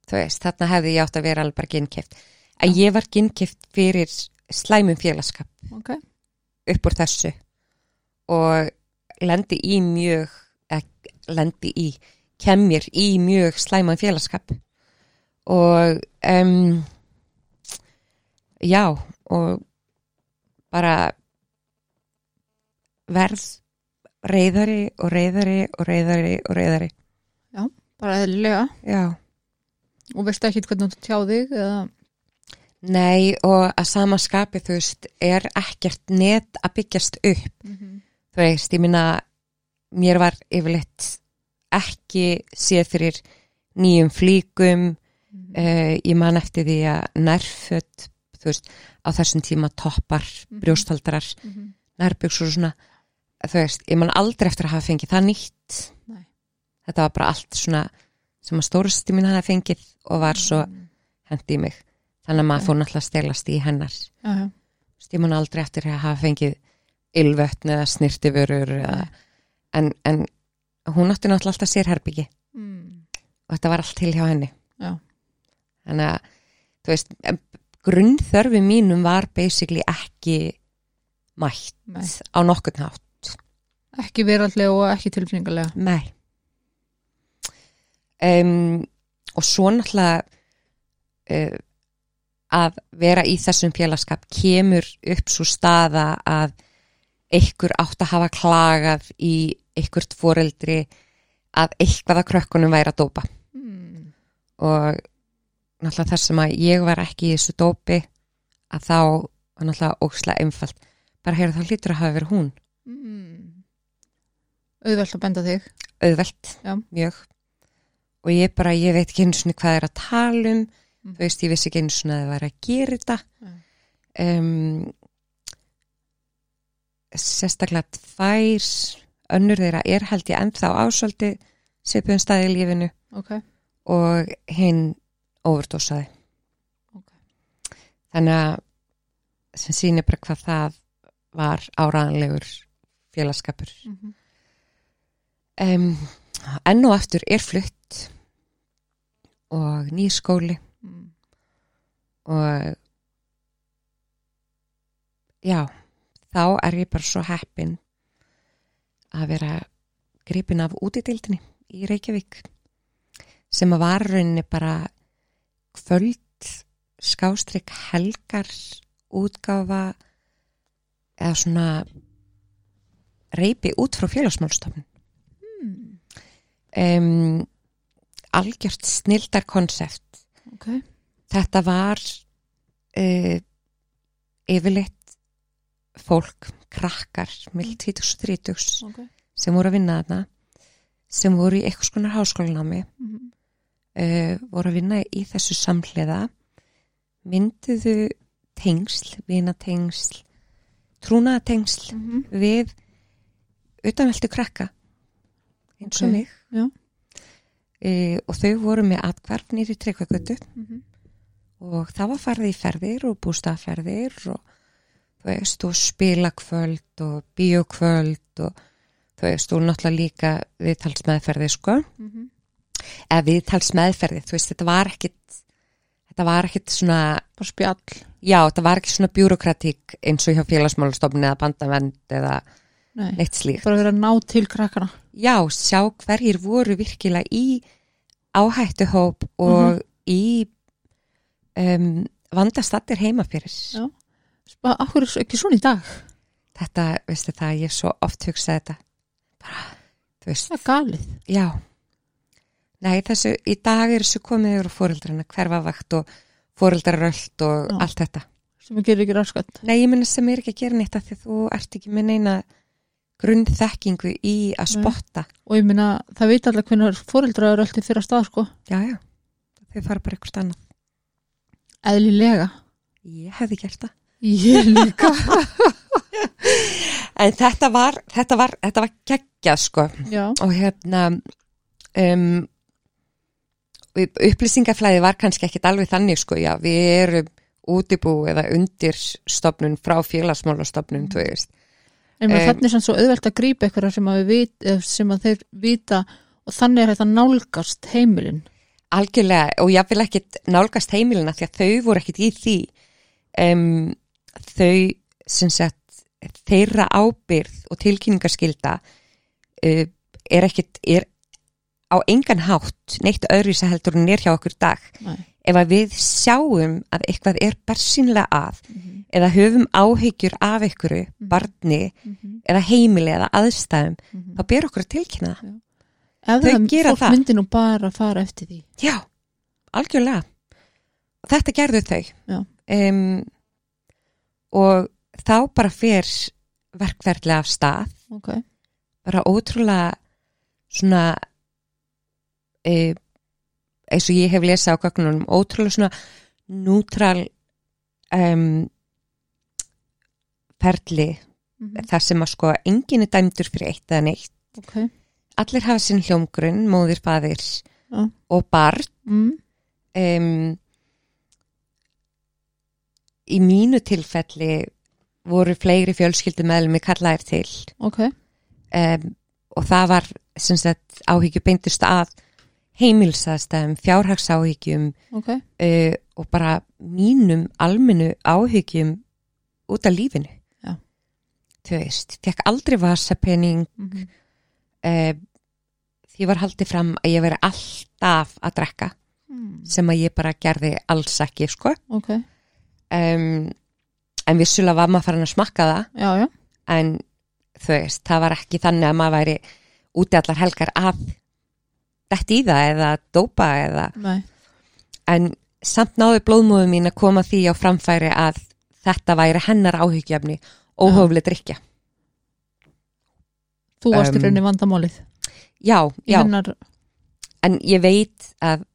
S2: Þú veist, þarna hefði ég átt að vera alveg bara ginnkift. En ég var ginnkift fyrir slæmum félagskap
S1: Ok,
S2: upp úr þessu og lendi í mjög eða lendi í kem mér í mjög slæman félagskap og um, já og bara verð reyðari og reyðari og reyðari og reyðari
S1: bara eðlilega
S2: já
S1: og veistu ekki hvernig þú tjá þig eða...
S2: Nei og að sama skapi þú veist er ekkert net að byggjast upp
S1: mm -hmm.
S2: þú veist, ég minna mér var yfirleitt ekki séð fyrir nýjum flíkum uh, ég man eftir því að nærföt þú veist, á þessum tíma toppar, brjóstaldarar nærbyggsur og svona þú veist, ég man aldrei eftir að hafa fengið það nýtt
S1: Nei.
S2: þetta var bara allt svona sem að stórusti mín hafa fengið og
S1: Mhm.
S2: var svo hendi í mig þannig að maður fór náttúrulega að stelast í hennar Þú
S1: Já, já,
S2: veist, ég man aldrei eftir að hafa fengið ylvötn eða snirtiförur eða, en, en hún átti náttúrulega alltaf sérherbyggi
S1: mm.
S2: og þetta var allt til hjá henni
S1: Já.
S2: þannig að þú veist, grunnþörfi mínum var basically ekki mætt
S1: Nei.
S2: á nokkurn hátt
S1: ekki veraldlega og ekki tilfinningalega
S2: Nei um, og svo náttúrulega uh, að vera í þessum félagskap kemur upp svo staða að einhver átt að hafa klagað í einhvert foreldri að eitthvað að krökkunum væri að dópa
S1: mm.
S2: og náttúrulega þar sem að ég var ekki í þessu dópi að þá var náttúrulega ókslega einfalt bara heyrðu þá hlýtur að hafa verið hún
S1: Mm. auðvelt að benda þig
S2: auðvelt,
S1: Já.
S2: mjög og ég bara, ég veit ekki einu svona hvað er að tala um
S1: Mhm.
S2: þú veist, ég vissi ekki einu svona að það var að gera þetta
S1: Nei.
S2: um, sérstaklega tvær önnur þeirra er held ég ennþá ásöldi svipuðum staði í lífinu
S1: ok,
S2: og hinn overdósaði
S1: Ok.
S2: þannig að sem sýnir bara hvað það var áraðanlegur félagskapur
S1: mm -hmm.
S2: um, enn og aftur er flutt og nýr skóli
S1: Mm-hmm.
S2: og já, þá er ég bara svo heppin að vera gripin af útidildinni í Reykjavík sem að var í rauninni bara kvöld skástrík helgar útgáfa eða svona reypi út frá félagsmálstofn
S1: Mm.
S2: um, algjört snildar konsept.
S1: ok,
S2: Þetta var uh, yfirleitt fólk, krakkar, mild 20 og 30
S1: ok Mm-hmm.
S2: sem voru að vinna þarna sem voru í eitthvað skonar háskólanámi
S1: Mhm.
S2: uh, voru að vinna í þessu samhliða mynduðu tengsl, vinatengsl trúnaðatengsl
S1: Mhm.
S2: við utanveldu krakka eins og
S1: Ok,
S2: mig
S1: já.
S2: Eh, og þau voru með atkvarf nýri trekkagötu
S1: Mhm.
S2: og það var farið í ferðir og bústaferðir og þú veist og spilakvöld og bíokvöld og þú veist og náttúrulega líka viðtalsmeðferði sko
S1: Mhm.
S2: eða viðtalsmeðferði, þú veist þetta var ekkit þetta var ekkit svona
S1: Bara spjall
S2: já þetta var ekki svona bjúrokratík eins og hjá félagsmálastofni eða bandavend eða
S1: Nei.
S2: neitt slíkt
S1: Bara verið að ná til krakkana
S2: já sjá hverjir voru virkilega í áhættuhóp og
S1: Mhm.
S2: í um, vandastattir heima fyrir
S1: Já. Bara, af hverju er ekki svona í dag?
S2: þetta, veistu það, ég svo oft hugsa þetta bara, þú veist,
S1: Það er galið
S2: já nei, þessu, í dag er þessu komið yfir á fóreldrana, hverfavakt og fóreldraröld og
S1: Já.
S2: allt þetta
S1: sem að gera ekki raskvætt
S2: nei, ég minna sem er ekki að gera neitt að því þú ert ekki með neina grunnþekkingu í að
S1: Nei.
S2: spotta
S1: og ég minna, það veit allir hvernig fóreldra eru alltaf fyrir að stað sko,
S2: já, já, þau fara bara eitthvað annað
S1: eðlilega
S2: ég hefði gert það
S1: ég líka
S2: en þetta var, þetta var, þetta var geggjað sko
S1: [LAUGHS] já,
S2: og hérna um, upplýsingaflæði var kannski ekkit alveg þannig sko, já, við erum útibú eða undir stopnun frá félagsmálastofnun, þú veist
S1: en um,
S2: Em.
S1: þannig er samt svo auðvelt að grípa eitthvað sem að, við vit, eh, sem að þeir vita og þannig er þetta nálgast heimilin
S2: algjörlega, og ég vil ekkit nálgast heimilina því að þau voru ekkit í því um, þau sem sagt þeirra ábyrð og tilkynningarskylda uh, er ekkit er á engan hátt neitt öðru sem heldur hún er hjá okkur í dag
S1: Nei.
S2: ef að við sjáum að eitthvað er barsinlega að
S1: Mhm.
S2: eða höfum áhyggjur af ykkur barni eða heimili eða aðstæðum
S1: Mhm.
S2: þá ber okkur að tilkynna það.
S1: ef
S2: Þau
S1: það
S2: gera
S1: fólk
S2: það.
S1: myndi nú bara að fara eftir því
S2: Já, algjörlega. Þetta gerðu þau.
S1: Já.
S2: Em, og þá bara fer verkverðlega af stað
S1: ok,
S2: bara ótrúlega svona e, eins og ég hef lesað á gögnunum ótrúlega svona nútral um, perli
S1: Mhm.
S2: þar sem að sko enginn er dæmdur fyrir eitt eða neitt
S1: ok
S2: allir hafa sinn hljómgrunn, móðir, faðir
S1: Já.
S2: og barn
S1: mm.
S2: um, í mínu tilfelli voru fleiri fjölskyldu meðlum við kallaðir til
S1: ok,
S2: um, og það var sem sagt áhyggju beintist að heimilsaðstæðum, fjárhagsáhyggjum
S1: ok
S2: uh, og bara mínum almennu áhyggjum út af lífinu
S1: Já.
S2: þau veist, fekk aldrei vasapenning
S1: Mhm.
S2: uh, því var haldið fram að ég veri alltaf að drekka
S1: Mm.
S2: sem að ég bara gerði alls ekki sko
S1: ok,
S2: um, en vissulega var maður farin að smakka það
S1: já, já
S2: en þú veist, það var ekki þannig að maður væri úti allar helgar að dætt í það eða dópa eða,
S1: Nei.
S2: en samt náðu blóðmóðu mín að koma því á framfæri að þetta væri hennar áhyggjafni óhófleg drikja.
S1: þú varst í
S2: Em.
S1: rauninni vandamálið
S2: Já,
S1: í
S2: já,
S1: hennar,
S2: en ég veit að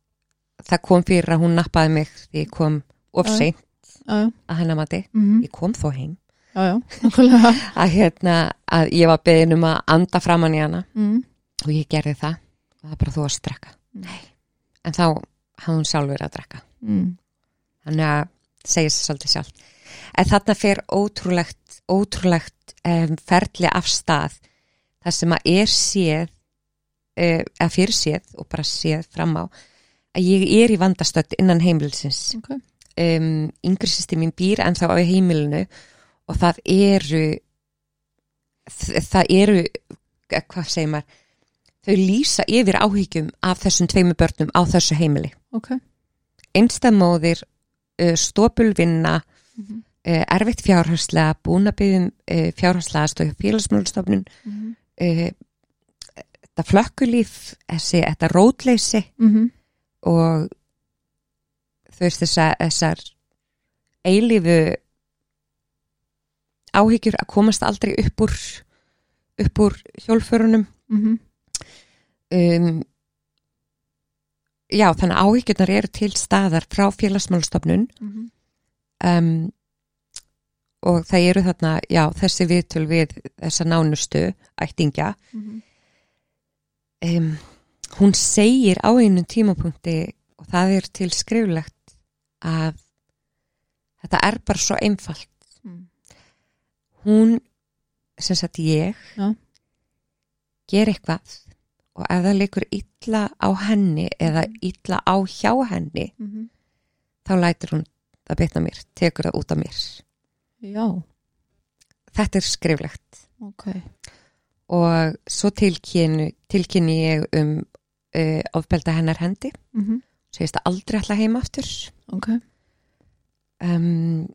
S2: það kom fyrir að hún nappaði mig því ég kom of
S1: Já, já.
S2: seint
S1: já, já,
S2: að hennar mati,
S1: mhm,
S2: ég kom þó heim
S1: já, já, nákvæmlega
S2: að hérna, að ég var beðin um að anda framann í hana
S1: mm.
S2: og ég gerði það og það er bara þú varst að drekka
S1: Nei.
S2: en þá hafði hún sjálf verið að drekka
S1: Mm.
S2: þannig að segja sér svolítið sjálf en þarna fer ótrúlegt ótrúlegt um, ferli af stað það sem að er séð um, að fyrir séð og bara séð fram á að ég er í vandastödd innan heimilisins
S1: ok,
S2: um, yngri sýsti mín býr en þá á heimilinu og það eru þ- það eru eh, hvað segir maður þau lýsa yfir áhyggjum af þessum tveimur börnum á þessu heimili
S1: ok
S2: einstamóðir, uh, stópulvinna mm
S1: Mhm.
S2: erfitt fjárhagslega búnabyðum uh, fjárhagslega aðstoð hjá félagsmálstofnun
S1: Mhm.
S2: uh, þetta flökkulíf þessi, þetta rótleysi
S1: Mhm.
S2: og þú veist þessa, þessar eilífu áhyggjur að komast aldrei upp úr upp úr hjólförunum
S1: Mhm.
S2: um, já, þannig að áhyggjurnar eru til staðar frá félagsmálastofnun
S1: Mhm.
S2: um, og það eru þarna, já, þessi viðtöl við þessa nánustu ættingja
S1: Mhm.
S2: um, hún segir á einu tímapunkti og það er til skriflegt að þetta er bara svo einfalt
S1: Mm.
S2: hún, sem sagt ég
S1: Já.
S2: ger eitthvað og ef það leikur illa á henni eða illa á hjá henni
S1: Mhm.
S2: þá lætur hún það bitna mér, tekur það út af mér
S1: Já,
S2: þetta er skriflegt
S1: ok
S2: og svo tilkynni, tilkynni ég um uh, ofbelda hennar hendi
S1: Mhm.
S2: segist að aldrei ætla heim aftur
S1: Ok,
S2: um,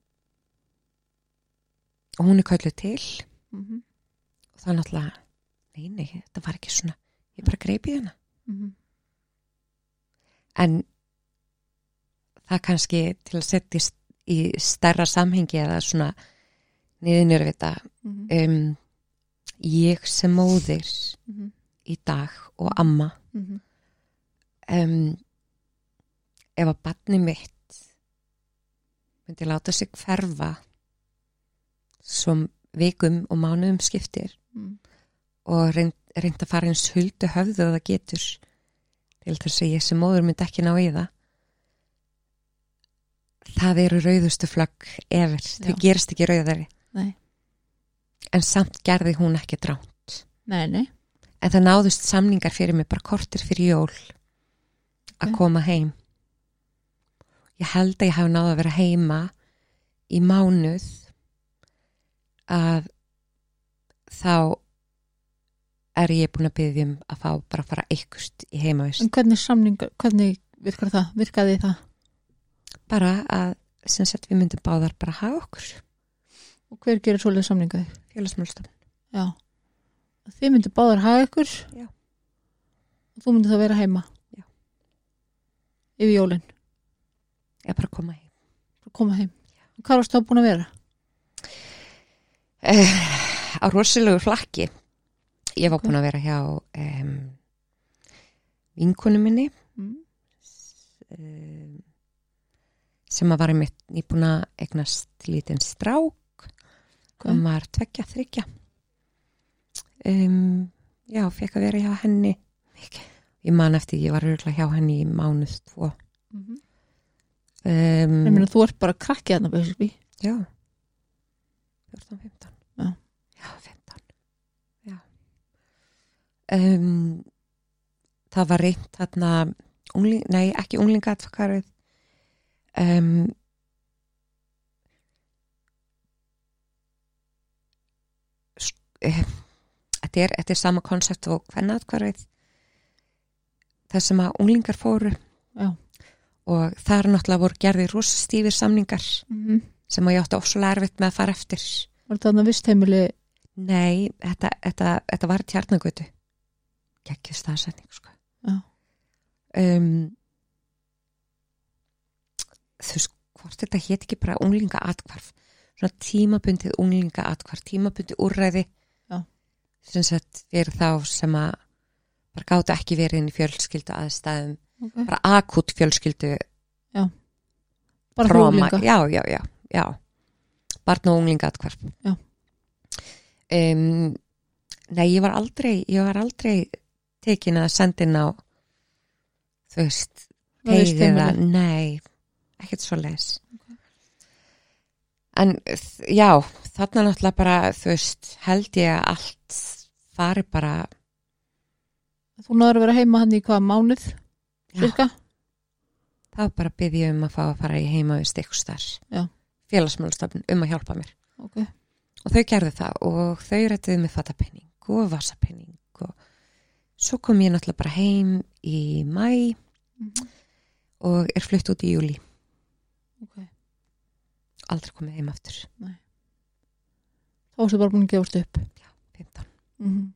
S2: og hún er kölluð til
S1: Mhm.
S2: og það er náttúrulega nei, nei, þetta var ekki svona ég bara greipi hana
S1: Mhm.
S2: en það kannski til að setjast í stærra samhengi eða svona niðinur við þetta
S1: Mhm.
S2: um, ég sem móðir
S1: Mhm.
S2: í dag og amma
S1: Mhm.
S2: um, ef að barni mitt myndi láta sig hverfa sem vikum og mánuðum skiptir
S1: Mm.
S2: og reynd, reynd að fara eins huldu höfðu að það getur til þess að ég sem móður myndi ekki ná í það það eru rauðustu flögg efir, þau
S1: Já.
S2: gerist ekki rauðari
S1: Nei.
S2: en samt gerði hún ekki drá
S1: Nei, nei
S2: en það náðust samningar fyrir mig bara kortir fyrir jól að
S1: Ok.
S2: koma heim ég held að ég hafi náð að vera heima í mánuð að þá er ég búin að byggja um að fá bara að fara ykkust í heimavist
S1: En hvernig samningar, hvernig virkar það, virkaði það?
S2: bara að sem sett við myndum báðar bara hafa okkur
S1: Og hver gerir svoleið samningaði?
S2: félagsmálstofn
S1: Já. Þið myndu báðar haga ykkur.
S2: Já.
S1: Og þú myndu þá vera heima.
S2: Já.
S1: Yfir jólinn,
S2: eða bara koma heim
S1: bara koma heim. Já. Hvað varst þá búin að vera?
S2: Eh, á rosalegu flakki ég var búin að vera hjá um, vinkunum minni
S1: Mm.
S2: um, sem að var einmitt nýbúin að eignast lítinn strák hann var tveggja, þryggja um, já, fekk að vera hjá henni Mikið. ég man eftir, ég var örgulega hjá henni í mánuð tvo
S1: Mm -hmm. Ég
S2: um,
S1: meina, þú ert bara krakkið þarna, basically.
S2: já 14, 15
S1: Já.
S2: já 15 já um, það var reynt þarna ungling, nei, ekki unglingatfakarið um, sk- eh, þetta er, þetta er sama konsept og hvernatkarið það sem að unglingar fóru
S1: Já.
S2: og þar náttúrulega voru gerðir rosastífir samningar
S1: Mm -hmm.
S2: sem að ég átti ofslega erfitt með að fara eftir
S1: Var þetta þarna vist heimili?
S2: Nei, þetta, þetta, þetta var tjarnagötu geggjur staðsetning sko.
S1: Já.
S2: um, Þú veist, hvort þetta hétt ekki bara unglinga atkvarf svona tímabundið unglinga atkvarf tímabundið úrræði
S1: Já.
S2: sem sett verið þá sem að bara gátu ekki verið inn í fjölskyldu aðstæðum
S1: Okay.
S2: bara akut fjölskyldu
S1: Bara
S2: Trauma,
S1: hrólinga.
S2: já, já, já, já barn og unglinga atkvarf
S1: Já.
S2: um, nei, ég var aldrei ég var aldrei tekin að senda inn á þú hérna. veist
S1: Það vist
S2: teig eða-
S1: heimili.
S2: nei, ekkert svo leis en þ- já, þarna náttúrulega bara þú veist, held ég að allt fari bara
S1: Þú náður að vera heima hann í hvaða mánuð, cirka?
S2: þá bara byrði ég um að fá að fara í heima við stikkustar
S1: Já.
S2: félagsmálstofn um að hjálpa mér
S1: Ok.
S2: og þau gerðu það og þau rættuðu með fattapenning og vasapenning og svo kom ég náttúrulega bara heim í mæ
S1: Mhm.
S2: og er flutt út í júli
S1: Ok.
S2: aldrei komið heim aftur,
S1: Þá varstu bara búin að gefast upp.
S2: 15
S1: Mm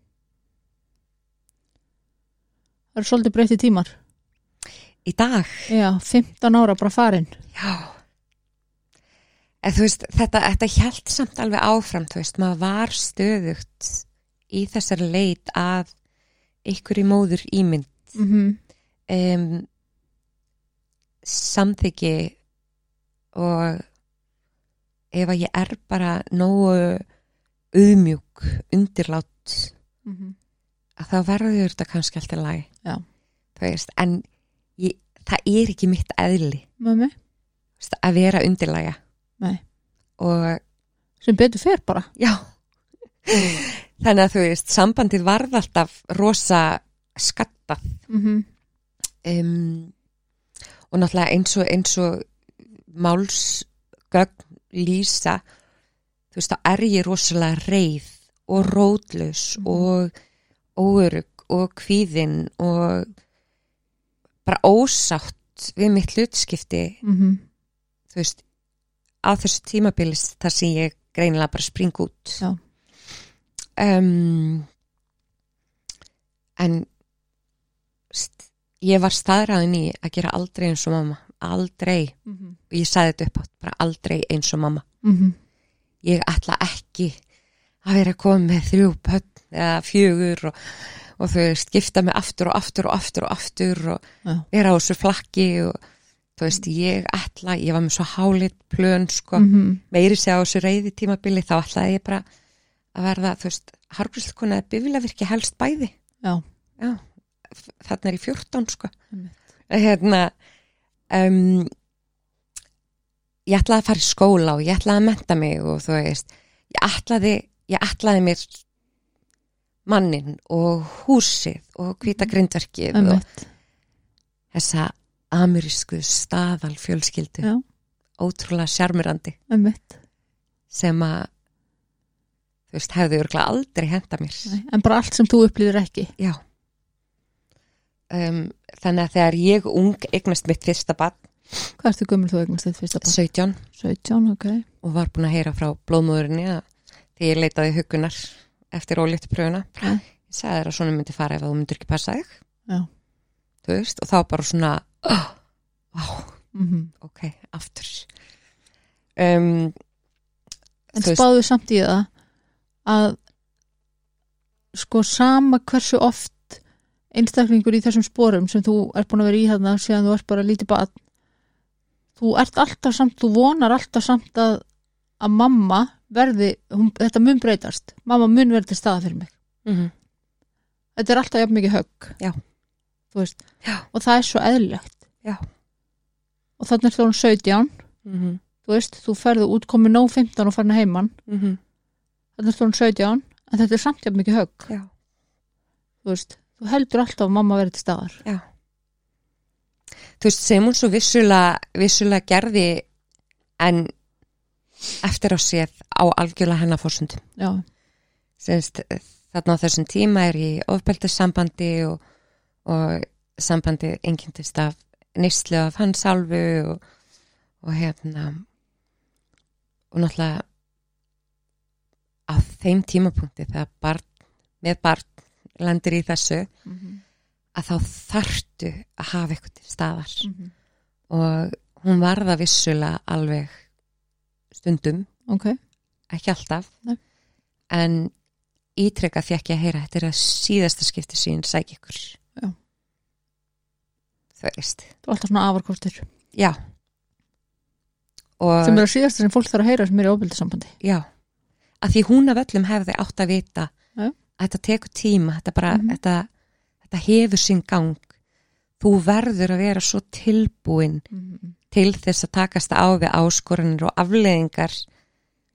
S1: Það eru svolítið breytti tímar.
S2: í dag,
S1: Já, 15 ára bara farin.
S2: já en þú veist, þetta, þetta hjælt samt alveg áfram, þú veist, maður var stöðugt í þessari leit að ykkur í móður ímynd
S1: mm -hmm.
S2: um, samþyggi og ef að ég er bara nógu auðmjúk undirlátt
S1: Mm -hmm.
S2: að þá verður þetta kannski alltaf lagi
S1: Já.
S2: Þú veist, en ég, það er ekki mitt eðli
S1: Mömmi,
S2: þú veist, að vera undirlæga
S1: Nei.
S2: og
S1: sem betur fer bara
S2: já
S1: Mm.
S2: þannig að þú veist, sambandið varð alltaf rosa skattað
S1: mm -hmm.
S2: um, og náttúrulega eins og eins og málsgögn lýsa þú veist, þá er ég rosalega reið og rótlaus
S1: Mhm.
S2: og óörug og kvíðin og bara ósátt við mitt hlutskipti
S1: Mm -hmm.
S2: þú veist, á þessu tímabilis þar sem ég greinilega bara spring út
S1: Já.
S2: um, en st, ég var staðræðin í að gera aldrei eins og mamma aldrei,
S1: Mhm.
S2: og ég sagði þetta upp átt bara aldrei eins og mamma ég ætla ekki að vera að koma með þrjú pötn eða fjögur og, og þau skipta mig aftur og aftur og aftur og aftur og
S1: Já.
S2: vera á þessu flakki og þú veist, ég ætla ég var með svo hálit plön sko,
S1: Mhm.
S2: meiri segja á þessu reyði tímabili þá ætlaði ég bara að verða þú veist, hargríslkona eða bifilavirki helst bæði
S1: Já.
S2: Já, f- þarna er ég 14 sko
S1: Einmitt.
S2: hérna um, ég ætlaði að fara í skóla og ég ætlaði að menta mig og þú veist ég ætlaði, ég ætlaði mér mannin og
S1: Mhm.
S2: húsið og hvita grindverkið og þessa amerísku staðal fjölskyldu
S1: Já.
S2: ótrúlega sjarmirandi
S1: Einmitt.
S2: sem að þú veist, hefði örgulega aldrei henda mér
S1: Nei, en bara allt sem þú upplýður ekki
S2: já um, þannig að þegar ég ung eignast mitt fyrsta barn,
S1: hvað ertu gömul þú eignast þitt fyrsta barn?
S2: 17
S1: 17, ok
S2: og var búin að heyra frá blóðmóðurinni að því ég leitaði hugunar eftir ólítu pröfuna
S1: Já.
S2: ég sagði þér að svona myndi fara ef að þú myndir ekki passa þig
S1: Já.
S2: þú veist, og þá bara svona oh, wow,
S1: mm
S2: ok, aftur um,
S1: en
S2: Þú veist-
S1: spáðu samt í það að sko sama hversu oft einstaklingur í þessum sporum sem þú ert búin að vera í þarna síðan þú ert bara lítið barn þú ert alltaf samt, þú vonar alltaf samt að, að mamma verði, hún, þetta mun breytast mamma mun verði til staða fyrir mig
S2: mm
S1: Mhm,
S2: -hmm.
S1: þetta er alltaf jafn mikið högg
S2: Já.
S1: Þú veist,
S2: Já.
S1: og það er svo eðlilegt
S2: Já.
S1: og þannig er hún 17
S2: Mm -hmm.
S1: þú veist, þú ferðu út komið nóg 15 og farin að heiman
S2: Mm -hmm.
S1: þannig er hún 17 en þetta er samt jafn mikið högg
S2: Já.
S1: þú veist, þú heldur alltaf að mamma verið til staðar
S2: þú veist, sem hún svo vissulega, vissulega gerði en eftir á séð á algjörlega hennar fórsundum.
S1: já,
S2: Semst, þarna á þessum tíma er ég ofbeldissambandi og, og sambandi engindist af nýslu af hans álfu og, og hérna og náttúrulega á þeim tímapunkti þegar barn, með barn lendir í þessu
S1: mm
S2: Mhm,
S1: -hmm.
S2: að þá þartu að hafa eitthvað til staðar og hún var það vissulega alveg stundum,
S1: ok
S2: ekki alltaf
S1: Nei.
S2: en ítrekka fjekk ég að heyra þetta er að síðasta skipti sín sæk ykkur
S1: Já.
S2: þú veist
S1: þú er alltaf svona afarkostur
S2: já og
S1: sem eru síðast sem fólk þarf að heyra sem er í ofbildisambandi
S2: já að því hún af öllum hefði átt að vita
S1: Já.
S2: að þetta tekur tíma þetta, bara,
S1: Mhm. þetta-
S2: þetta hefur sinn gang þú verður að vera svo tilbúin til þess að takast á við áskoranir og afleðingar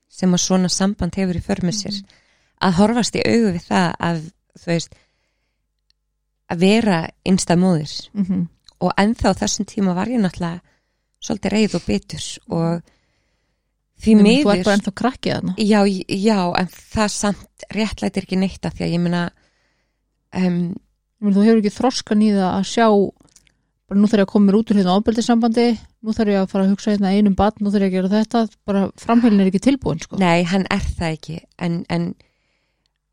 S2: sem að svona samband hefur í förmið sér
S1: Mhm.
S2: að horfast í augu við það að þú veist að vera einsta móðir
S1: mm -hmm.
S2: og ennþá á þessum tíma var ég náttúrulega svolítið reyð og bitur og því
S1: þú ert
S2: miður
S1: bara ennþá krakkið þarna
S2: já, já, en það samt réttlætir ekki neitt að því að ég meina um,
S1: Ég meina, þú hefur ekki þroskan í það að sjá bara nú þarf ég að koma mér út úr hérna ábyrðisambandi nú þarf ég að fara að hugsa hérna einum batn nú þarf ég að gera þetta, bara framheilin er ekki tilbúin sko.
S2: Nei, hann er það ekki en, en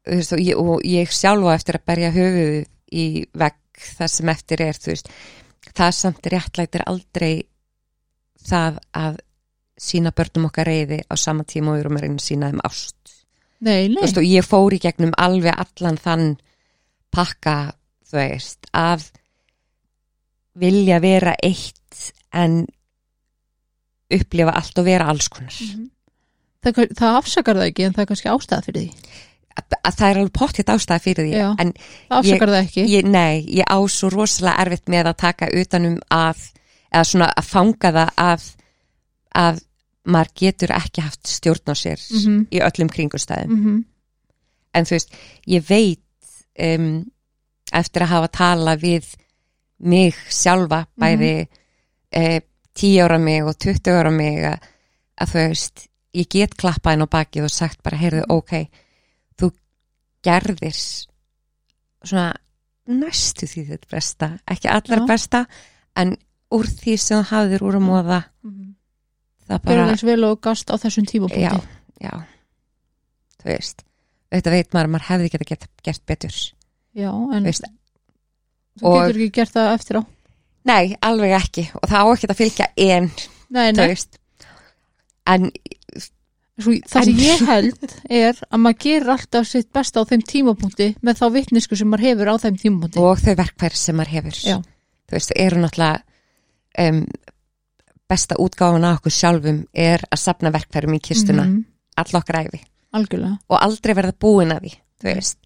S2: þú veist, og, ég, og ég sjálfa eftir að berja höfuð í vegg það sem eftir er þú veist, það samt réttlætir aldrei það að sína börnum okkar reyði á sama tíma og við erum að reyna að sína þeim ást
S1: nei,
S2: Þú
S1: nei,
S2: veist, og ég fór í gegnum alveg allan þann pakka þú veist, að vilja vera eitt en upplifa allt og vera alls konar.
S1: það, kann- það afsakar það ekki en það er kannski ástæða fyrir því
S2: Að, að það er alveg pottjætt ástæða fyrir því,
S1: Já.
S2: en
S1: það afsakar það ekki
S2: ég, nei, ég á svo rosalega erfitt með að taka utanum að, eða svona að fanga það að, að maður getur ekki haft stjórn á sér
S1: Mhm.
S2: í öllum kringustæðum.
S1: mm
S2: en þú veist, ég veit um, eftir að hafa tala við mig sjálfa bæði mm tíu ára mig og 20 ára mig að, að þú veist, ég get klappað inn á bakið og sagt bara, heyrðu, ok þú gerðir svona næstu því þetta besta, ekki allar
S1: Já.
S2: besta en úr því sem þú hafðir úr að móða það Mhm. bara
S1: Gjörðu eins vel og gast á þessum tímapunkti
S2: já, já þú veist, þetta veit maður að maður hefði geta gert, gert betur
S1: Já, en
S2: Veist,
S1: þú
S2: og-
S1: getur ekki gert það eftir á
S2: nei, alveg ekki og það á ekki að fylgja en,
S1: Nei,
S2: þú
S1: nei,
S2: veist en,
S1: Svo, það sem
S2: En-
S1: ég held er að maður gerir alltaf sitt besta á þeim tímapunkti með þá vitnisku sem maður hefur á þeim tímapunkti
S2: og þau verkfæri sem maður hefur
S1: Já.
S2: þú veist, þau eru náttúrulega um, besta útgáfan af okkur sjálfum er að safna verkfærum í kistuna, mm
S1: Mhm,
S2: all okkar æfi
S1: Algjörlega
S2: og aldrei verða búin að því, þú
S1: Nei.
S2: veist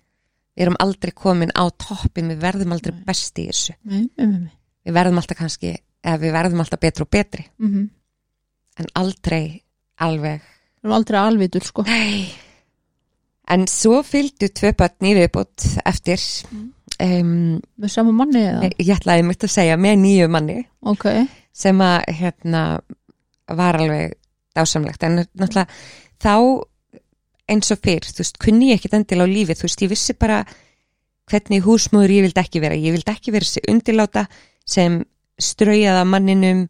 S2: við erum aldrei komin á toppin við verðum aldrei best í þessu
S1: Nei, um, um,
S2: við verðum alltaf kannski, eða við verðum alltaf betri og betri
S1: um, um.
S2: en aldrei alveg
S1: Við erum aldrei alvitur sko
S2: Nei. En svo fylgdu tvö börn í viðbútt eftir um,
S1: með sama manni eða
S2: ég ætlaði mitt að segja með nýju manni
S1: ok,
S2: sem að hérna var alveg dásamlegt en náttúrulega þá eins og fyrr, þú veist, kunni ég ekkit endil á lífið, þú veist, ég vissi bara hvernig húsmóður ég vildi ekki vera, ég vildi ekki vera þessi undirláta sem straujaði að manninum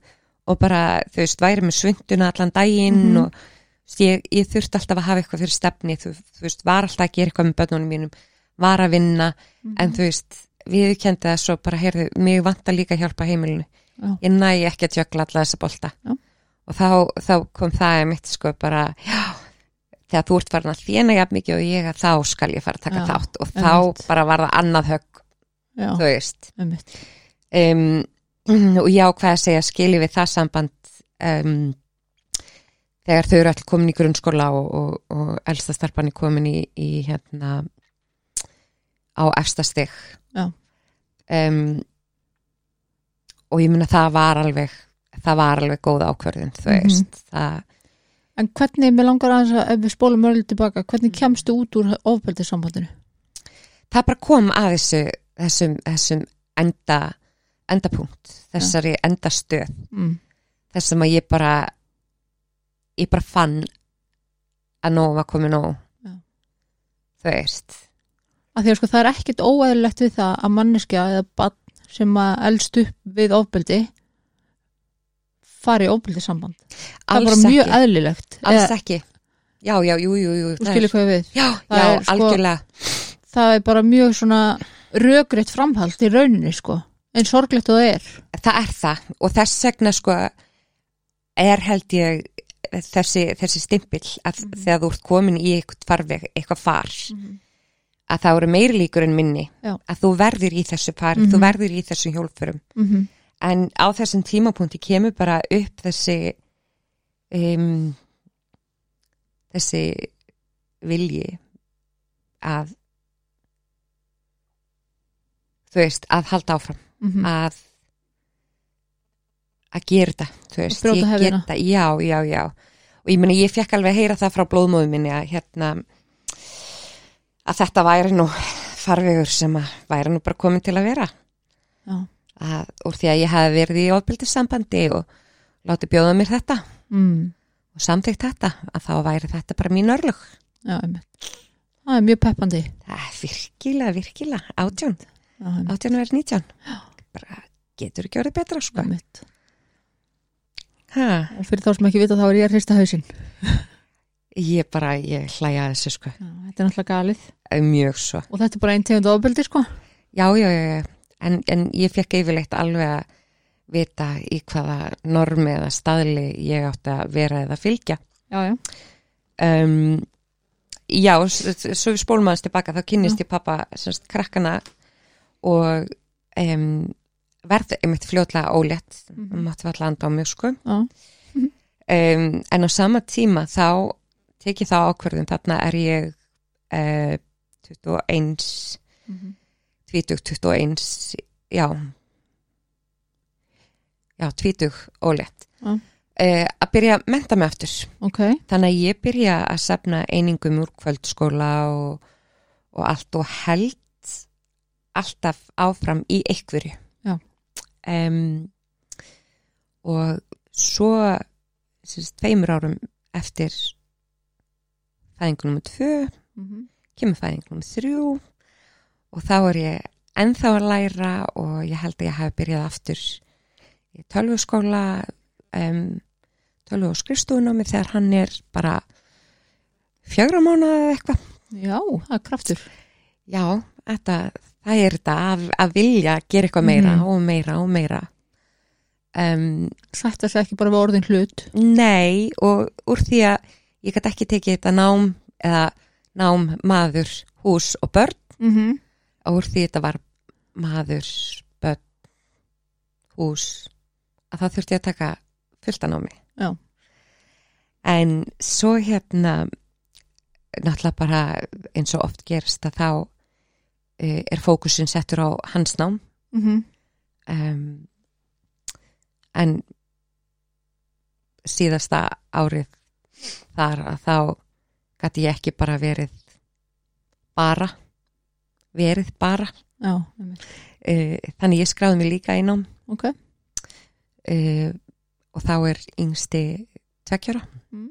S2: og bara, þú veist, væri með svunduna allan daginn
S1: Mhm.
S2: og þú veist, ég, ég þurfti alltaf að hafa eitthvað fyrir stefni, þú, þú veist, var alltaf að gera eitthvað með börnunum mínum, var að vinna en þú veist, við kendi það svo bara, heyrðu, mig vantar líka hjálpa heimilinu
S1: Já.
S2: ég næ ekki að tjökla alla þessa bolta
S1: Já.
S2: og þá, þá kom það mitt sko bara, já þegar þú ert farin að þjána jafn mikið og ég að þá skal ég fara að taka
S1: Já,
S2: þátt og þá
S1: einmitt.
S2: bara var það annað högg,
S1: já,
S2: þú veist
S1: um,
S2: um, [CLEARS THROAT] og ég ákvaði að segja skilji við það samband um, þegar þau eru all komin í grunnskóla og, og, og elsta starpan er komin í, í hérna á efsta stig
S1: Já.
S2: um, og ég mun að það var alveg það var alveg góð ákvörðin þú
S1: Mhm.
S2: veist, það
S1: en hvernig, mér langar aðeins að ef við spólum mörgul tilbaka, hvernig kemstu út úr ofbeldissambandinu?
S2: það bara kom að þessu þessum, þessambandinu enda, endapunkt, þessari endastöð
S1: Mm.
S2: þess sem að ég bara ég bara fann að nóg var komið nóg
S1: Já.
S2: þú veist
S1: að því að sko það er ekkit óæðilegt við það að manneskja eða bann sem að elst upp við ofbeldi fari í ofbeldissamband það er
S2: alls
S1: bara
S2: ekki,
S1: mjög eðlilegt
S2: alls
S1: Eða,
S2: ekki já, já, jú, jú, jú
S1: þú
S2: það
S1: skilur
S2: er,
S1: hvað ég við
S2: já,
S1: það
S2: já,
S1: er sko-
S2: algjörlega
S1: það er bara mjög svona rökrétt framhald í rauninni sko en sorglegt og það er
S2: það er það og þess vegna sko er held ég þessi, þessi stimpill að
S1: Mhm.
S2: þegar þú ert komin í eitthvað farveg, eitthvað far að það eru meiri líkur en minni
S1: Já.
S2: að þú verður í þessu far,
S1: Mhm.
S2: þú verður í þessum hjólfurum
S1: mm -hmm.
S2: en á þessum tímapunkti kemur bara upp þessi um, þessi vilji að þú veist, að halda áfram
S1: mhm. Mm. Ah.
S2: að að gera þetta, þú veist
S1: brjóta
S2: ég get
S1: hefðina.
S2: það, já, já, já og ég meni, ég fekk alveg að heyra það frá blóðmóðu minni að hérna að þetta væri nú farvegur sem að væri nú bara komin til að vera
S1: Já.
S2: að, úr því að ég hafi verið í ofbildissambandi og láti bjóða mér þetta
S1: mm.
S2: og samþygt þetta að þá væri þetta bara mín örlög
S1: já, einmitt það er mjög peppandi
S2: það er virkilega, virkilega átján,
S1: já, einmitt.
S2: átján verið nítján bara getur ekki orðið betra sko
S1: Einmitt.
S2: ha,
S1: og fyrir þá sem ekki vita þá er ég að hrista hausinn
S2: ég bara, ég hlæja að þessu sko
S1: Já, þetta er náttúrulega galið
S2: mjög svo
S1: og þetta er bara einn tegund ofbeldi sko
S2: já, já, já, já. En, en ég fekk yfirleitt alveg að vita í hvaða normi eða staðli ég átti að vera eða fylgja
S1: já, já.
S2: um, já, s- s- svo við spólum aðeins tilbaka þá kynnist ég pappa semst krakkana og um, verð einmitt fljótlega ólétt mm
S1: Mhm.
S2: -hmm. mátti alltaf landa á mjögsku
S1: Já. Mhm.
S2: um, en á sama tíma þá tek ég þá ákvörðum þarna er ég uh, 21
S1: Mhm.
S2: 20, 21 já já, 20 ólétt
S1: Já.
S2: uh, að byrja að menta mig aftur
S1: Ok,
S2: þannig að ég byrja að safna einingum úr kvöldskóla og, og allt og held alltaf áfram í einhverju
S1: Já.
S2: Em, og svo sérst, tveimur árum eftir fæðingunum tvö
S1: Mhm.
S2: kemur fæðingunum þrjú og þá er ég ennþá að læra og ég held að ég hafi byrjað aftur í tölvuskóla um, tölvu og skrifstofunámi þegar hann er bara fjögra mánuða eða eitthvað
S1: já, það er kraftur
S2: já, þetta, það er þetta að, að vilja gera eitthvað meira
S1: Mhm.
S2: og meira og meira um,
S1: Sætt að segja ekki bara við orðin hlut
S2: Nei, og úr því að ég gæti ekki tekið þetta nám eða nám maður, hús og börn
S1: mm -hmm.
S2: og úr því þetta var maður, börn, hús að það þurfti ég að taka fullt að námi.
S1: Já.
S2: En svo hérna náttúrulega bara eins og oft gerist að þá eh, er fókusin settur á hans nám
S1: mhm.
S2: um, en síðasta árið þar að þá gæti ég ekki bara verið bara verið bara
S1: Já, einmitt.
S2: uh, þannig ég skráði mig líka í nám
S1: ok
S2: uh, og þá er yngsti tveggjara
S1: mm.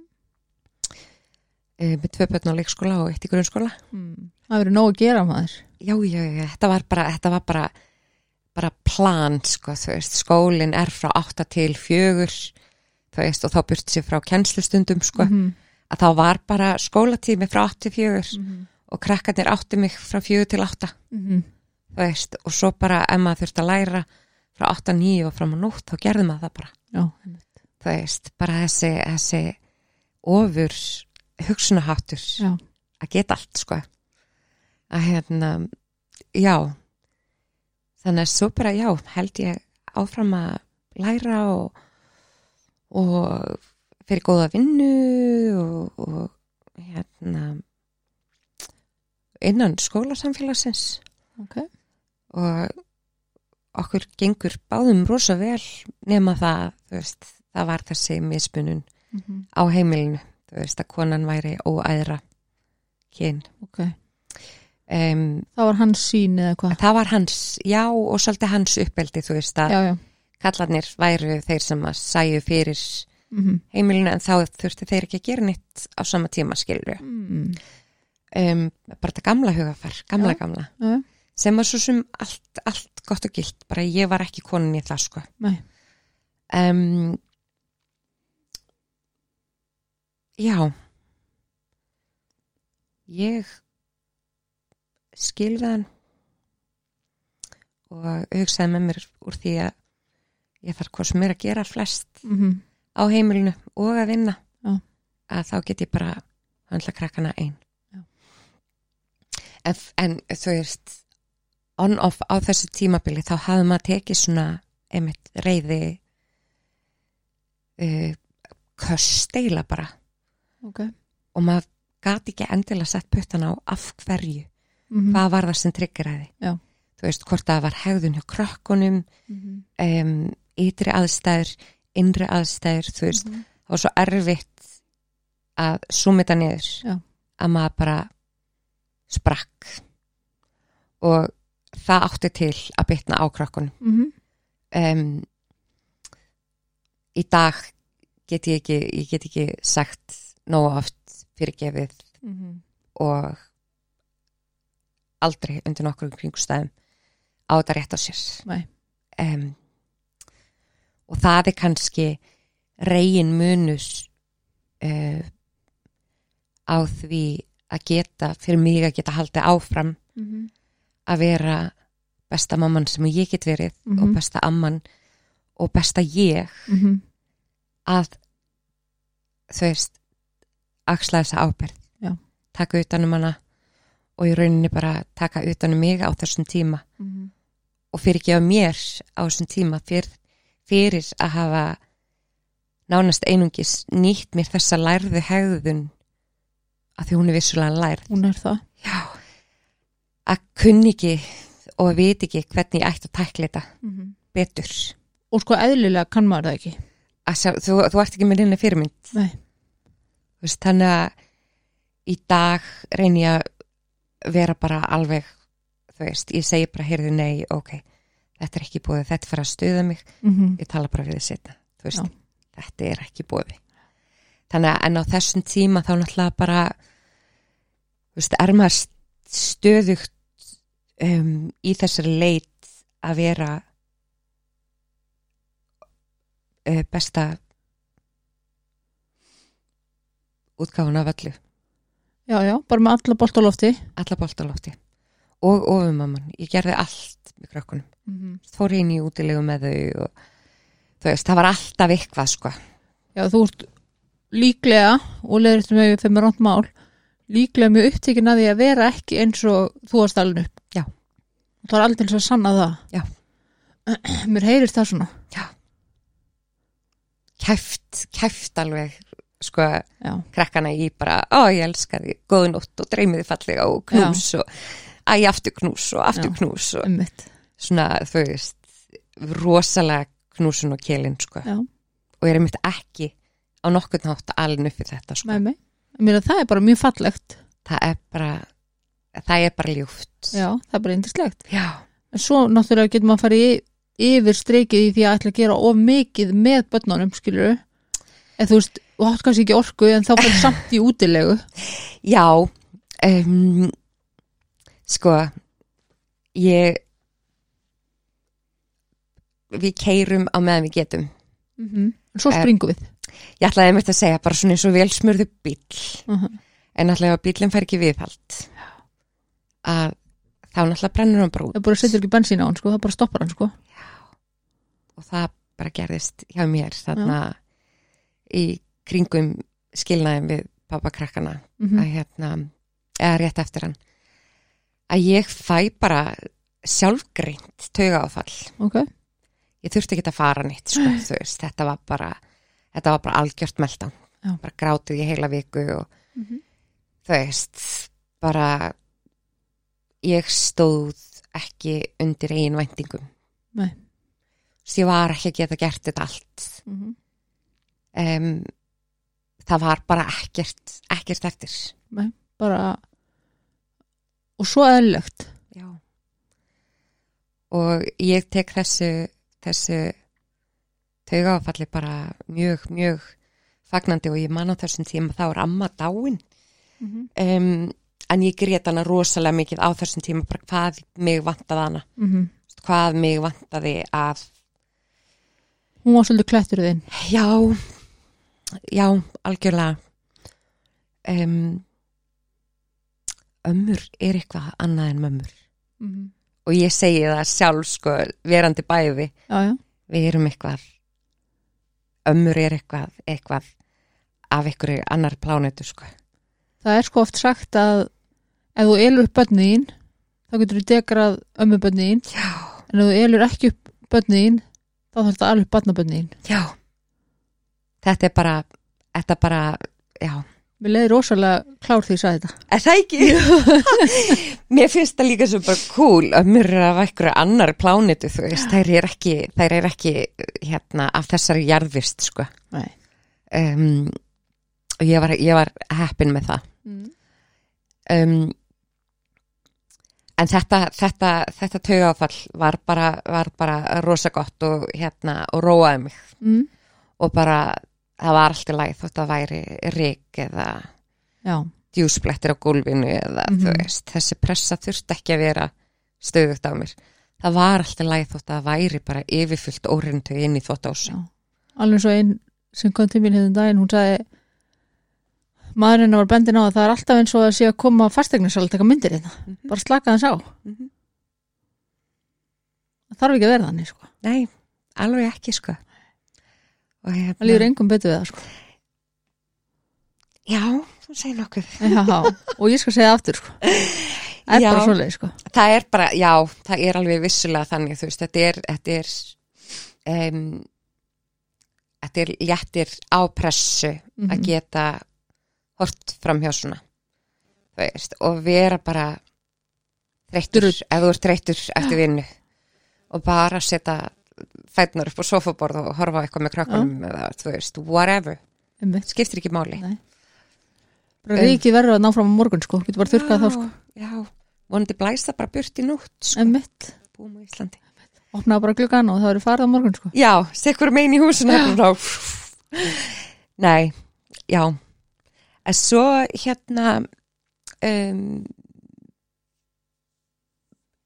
S2: uh, með tvö börn á leikskóla og eitt í grunnskóla
S1: Mm. Það verður nóg að gera maður
S2: já, já, já, þetta var bara, þetta var bara bara plan, sko, þú veist skólinn er frá 8 til 4 þú veist, og þá burt sér frá kennslustundum, sko,
S1: Mhm.
S2: að þá var bara skólatími frá 84 mm.
S1: Mhm.
S2: og krakkarnir átti mig frá 4 til 8
S1: Mhm.
S2: þú veist, og svo bara ef maður þurfti að læra frá 8, 9 og fram á nótt þá gerði maður það bara,
S1: Já, einmitt.
S2: þú veist bara þessi, þessi ofur hugsunaháttur
S1: Já.
S2: að geta allt, sko að hérna já, þannig að svo bara já, held ég áfram að læra og og fyrir góða vinnu og, og hérna innan skólasamfélagsins
S1: Ok.
S2: og okkur gengur báðum rosa vel nema það, þú veist, það var þessi mismunun
S1: Mhm.
S2: á heimilinu, þú veist, að konan væri óæðra kyn.
S1: ok
S2: Um,
S1: Það var hans sín eða hvað
S2: það var hans, já, og svolítið hans uppeldi, þú veist, að
S1: Já, já
S2: kallarnir væru þeir sem að sæju fyrir
S1: mm
S2: heimilinu en þá þurfti þeir ekki að gera nýtt á sama tíma skilur.
S1: -hmm.
S2: Um, bara þetta gamla hugafar, gamla,
S1: Já.
S2: gamla.
S1: Já.
S2: Sem var svo sem allt, allt gott og gilt, bara ég var ekki konin í það, sko.
S1: Nei.
S2: um, Já Ég skilði hann og hugsaði með mér úr því að ég þarf hvað sem er að gera flest
S1: Mm -hmm.
S2: á heimilinu og að vinna
S1: Já.
S2: að þá get ég bara höndla krakkana einn
S1: Já.
S2: en, en þú veist on-off á þessu tímabili þá hafði maður tekið svona einmitt reyði uh, köst eila bara
S1: Ok
S2: og maður gati ekki endilega sett puttan á af hverju,
S1: mm
S2: hvað var það sem tryggeraði
S1: Já.
S2: þú veist hvort það var hegðun hjá krökkunum
S1: -hmm.
S2: um, ytri aðstæður innri aðstæður, þú veist það var svo erfitt að sumi þetta niður
S1: Já.
S2: að maður bara sprakk og það átti til að bytna á krökkunum
S1: -hmm.
S2: um, í dag get ég ekki ég get ekki sagt nógu oft fyrirgefið
S1: Mhm.
S2: og aldrei undir nokkur kringstæðum á þetta rétt á sér
S1: Nei.
S2: um, og það er kannski reygin munus uh, á því að geta, fyrir mig að geta haldið áfram
S1: -hmm.
S2: að vera besta mamman sem ég get verið
S1: Mhm.
S2: og besta amman og besta ég
S1: -hmm.
S2: að þú veist axla þessa ábyrð
S1: Já.
S2: um taka utanum hana og í rauninni bara taka utanum mig á um þessum tíma
S1: Mhm.
S2: og fyrirgefa mér á þessum tíma fyr, fyrir að hafa nánast einungis nýtt mér þessa lærðu hegðun að því hún er vissulega lærð
S1: hún er það
S2: Já, að kunni ekki og að viti ekki hvernig ég ætti að tækla þetta
S1: Mhm.
S2: betur.
S1: og sko eðlilega kann maður það ekki
S2: Að Sjá, þú, þú ert ekki með neina fyrirmynd.
S1: Nei.
S2: Þú Veist, þannig að í dag reyni ég að vera bara alveg, þú veist, ég segi bara heyrðu nei, ok, þetta er ekki búið, þetta fyrir að stuða mig,
S1: mm
S2: ég tala bara við þið setna, þú veist, þetta er ekki búið. Þannig að en á þessum tíma þá náttúrulega bara, þú veist, er maður stöðugt um, í þessari leit að vera uh, besta útgáfun af öllu,
S1: já, já, bara með alla bolt á lofti
S2: alla boltalófti og ofumamman, ég gerði allt með krökkunum
S1: Mhm.
S2: fór inn í útilegu með þau og þú veist, það var alltaf eitthvað sko.
S1: já, þú ert líklega og leður þetta með þeim ránt mál líklega mjög upptekin að því að vera ekki eins og þú varst alveg upp
S2: Já.
S1: það er aldrei eins að sanna það
S2: Já.
S1: [CLEARS THROAT] mér heyrist það svona
S2: kæft, kæft alveg sko,
S1: já,
S2: krakkana í bara ó, ég elska því, góðu nótt og dreymi því fallega og knús og æ, aftur knús og aftur
S1: Já.
S2: knús og
S1: emmitt
S2: svona, þú veist rosalega knúsun og kélin sko.
S1: Já.
S2: og ég er mitt ekki á nokkurn hátt alin upp fyrir þetta sko.
S1: með mig Mér að það er bara mjög fallegt
S2: það er bara það er bara ljúft
S1: já, það er bara indislegt
S2: Já.
S1: en svo náttúrulega getur maður að fara í yfir streikið í því að ætla að gera of mikið með börnunum, skilur en þú veist, þú átt kannski ekki orku en þá fyrir samt í útilegu
S2: Já, um, sko, ég, við keirum á meðan við getum.
S1: mm
S2: Mhm.
S1: en svo springum við
S2: Ég ætlaði einmitt að segja bara svona eins og velsmurðu bíll,
S1: uh
S2: en ætlaði að bíllinn fær ekki viðhald. Að þá náttúrulega brennur hann bara út
S1: Það er bara setur ekki bensín á hann sko, það bara stoppar hann sko.
S2: og það bara gerðist hjá mér þarna í kringum skilnaðin við pappakrakkana.
S1: Mm
S2: að hérna, eða rétt eftir hann að ég fæ bara sjálfgreint tauga áfall
S1: Ok,
S2: ég þurfti ekki að fara nýtt sko, þú veist, þetta var bara þetta var bara algjört meldan
S1: Já.
S2: bara grátið í heila viku og
S1: Mhm.
S2: þú veist bara ég stóð ekki undir eigin væntingum
S1: Nei.
S2: Þess, ég var ekki að geta gert þetta allt um, það var bara ekkert ekkert eftir
S1: bara og svo eðlilegt
S2: Já. Og ég tek þessu, þessu taugafalli bara mjög, mjög fagnandi og ég man á þessum tíma þá er amma dáin. Um, en ég grét hana rosalega mikið á þessum tíma bara hvað mig vantaði hana.
S1: Mhm.
S2: Hvað mig vantaði að,
S1: Hún var svolítið klættur þinn
S2: já, já, algjörlega. Um, ömmur er eitthvað annað en mömmur. Og ég segi það sjálf sko verandi bæði.
S1: Já, já,
S2: við erum eitthvað ömmur er eitthvað, eitthvað af einhverju annar plánetu sko.
S1: það er sko oft sagt að ef þú elur upp börnin þín, þá getur þú degrað ömmu börnin þín,
S2: Já,
S1: en ef þú elur ekki upp börnin þín, þá þarf það alveg barnabörnin þín.
S2: já Þetta er bara þetta bara, já
S1: Mér leiði rosalega klár því ég sagði þetta
S2: Er það ekki? [LAUGHS] Mér finnst það líka svo bara cool ömmur er af einhverju annar plánetu þú veist, þær er ekki, þær er ekki hérna, af þessari jarðvist sko.
S1: Nei.
S2: um, og ég var, ég var heppin með það um, en þetta, þetta, þetta taugafall var bara, var bara rosa gott og hérna og róaði mig
S1: mm.
S2: og bara það var allt í lagi þótt að væri rík eða
S1: Já,
S2: djúsplettir á gólfinu eða
S1: Mhm.
S2: þú veist, þessi pressa þurfti ekki að vera stöðugt á mér það var allt í lagi þótt að það væri bara yfirfullt órindu inn í þótt ás
S1: Já. alveg svo einn sem kom til mín hérna um daginn, hún sagði maðurinn hennar var bendin á að það er alltaf eins og að sé að koma fastegnarsal að taka myndir hérna,
S2: Mhm.
S1: bara slaka þess á
S2: Mhm.
S1: það þarf ekki að vera þannig sko,
S2: nei, alveg ekki sko og
S1: það líður
S2: hérna
S1: engum betur við það
S2: [LAUGHS]
S1: sko
S2: já, þú segir nokkuð
S1: Já, og ég skal segja það aftur sko Það er
S2: Já.
S1: bara svoleið, sko.
S2: það er bara, já, það er alveg vissulega þannig, þú veist, þetta er þetta er, um, þetta er léttir á pressu
S1: Mhm.
S2: að geta hort framhjá svona þú veist, og vera bara þreyttur,
S1: Drull.
S2: ef þú ert þreyttur eftir vinnu og bara setja fætnar upp á sofaborð og horfa á eitthvað með krakkanum eða þú veist, whatever,
S1: Einmitt.
S2: skiptir ekki máli
S1: Nei. Bara ríkið verður að ná fram á morgun, sko. Getur bara þurrkað þá, sko.
S2: Um. Já, já, vonandi blæst það bara burt í nútt sko,
S1: Einmitt.
S2: búum á Íslandi
S1: Opnaðu bara gluggan og það verður farið á morgun, sko.
S2: Já, stikkur megin í húsinu frá. Nei, já en svo hérna um,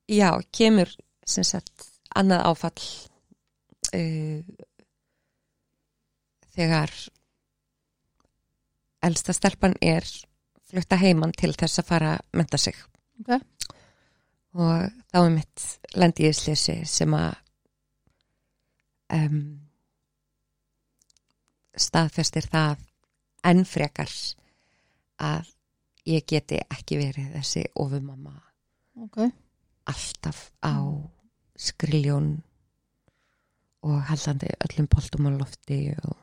S2: já, kemur sem sagt annað áfall uh, þegar elsta stelpan er flutta heiman til þess að fara að menta sig
S1: Ok.
S2: og þá er mitt lendi í slisi sem að um, staðfestir það enn frekar að ég geti ekki verið þessi ofumamma
S1: Ok.
S2: alltaf á skriljón og haldandi öllum boltum á lofti og,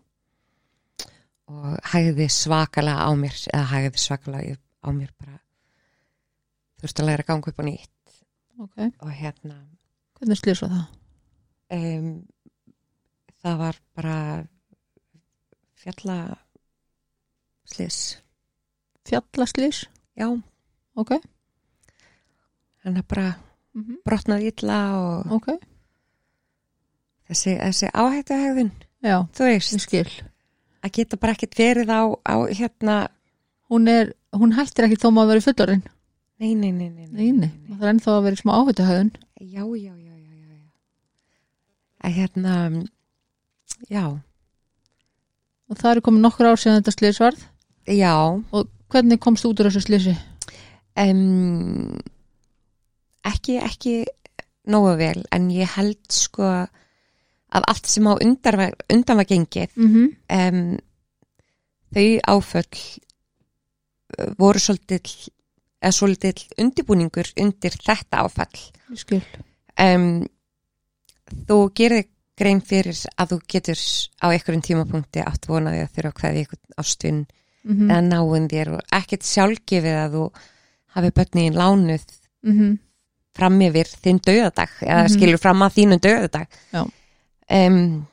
S2: og hægði svakalega á mér eða hægði svakalega á mér bara þurfti að læra að ganga upp á nýtt
S1: Ok.
S2: og hérna
S1: Hvernig slýr svo það?
S2: um, það var bara fjalla slis
S1: Fjallaslýr?
S2: já,
S1: Ok.
S2: hann er bara
S1: Mm
S2: Mhm.
S1: -hmm.
S2: brotnað illa og
S1: Ok.
S2: þessi, þessi áhættuhegðun
S1: Já,
S2: þú veist,
S1: ég skil.
S2: að geta bara ekkert verið á, á hérna
S1: Hún er, hún hættir ekki þó maður verið fullorinn.
S2: nei, nei, nei, nei,
S1: Nei, nei. Það er ennþá að verið smá áhættuhauðun.
S2: já, já, já, já, já, já. að hérna já,
S1: Og það eru komið nokkur ár síðan þetta slýr svarð.
S2: já
S1: Og hvernig komst þú út úr þessu slýsi?
S2: um, ekki, ekki nógu vel, en ég held sko að allt sem á undan var, undan var gengið
S1: Mm -hmm.
S2: um, þau áföll eh, voru svolítill eða svolítill undirbúningur undir þetta áfall
S1: Ég skil.
S2: um, þú gerir þér grein fyrir að þú getur á einhverjum tímapunkti átt vonaði að þurfa hvaði einhvern ástvinn
S1: Mm
S2: eða náin þér og ekkert sjálfgefið að þú hafi börnin lánuð fram yfir þinn döðadag eða
S1: Mhm.
S2: skilur fram að þínum döðadag
S1: Já.
S2: um,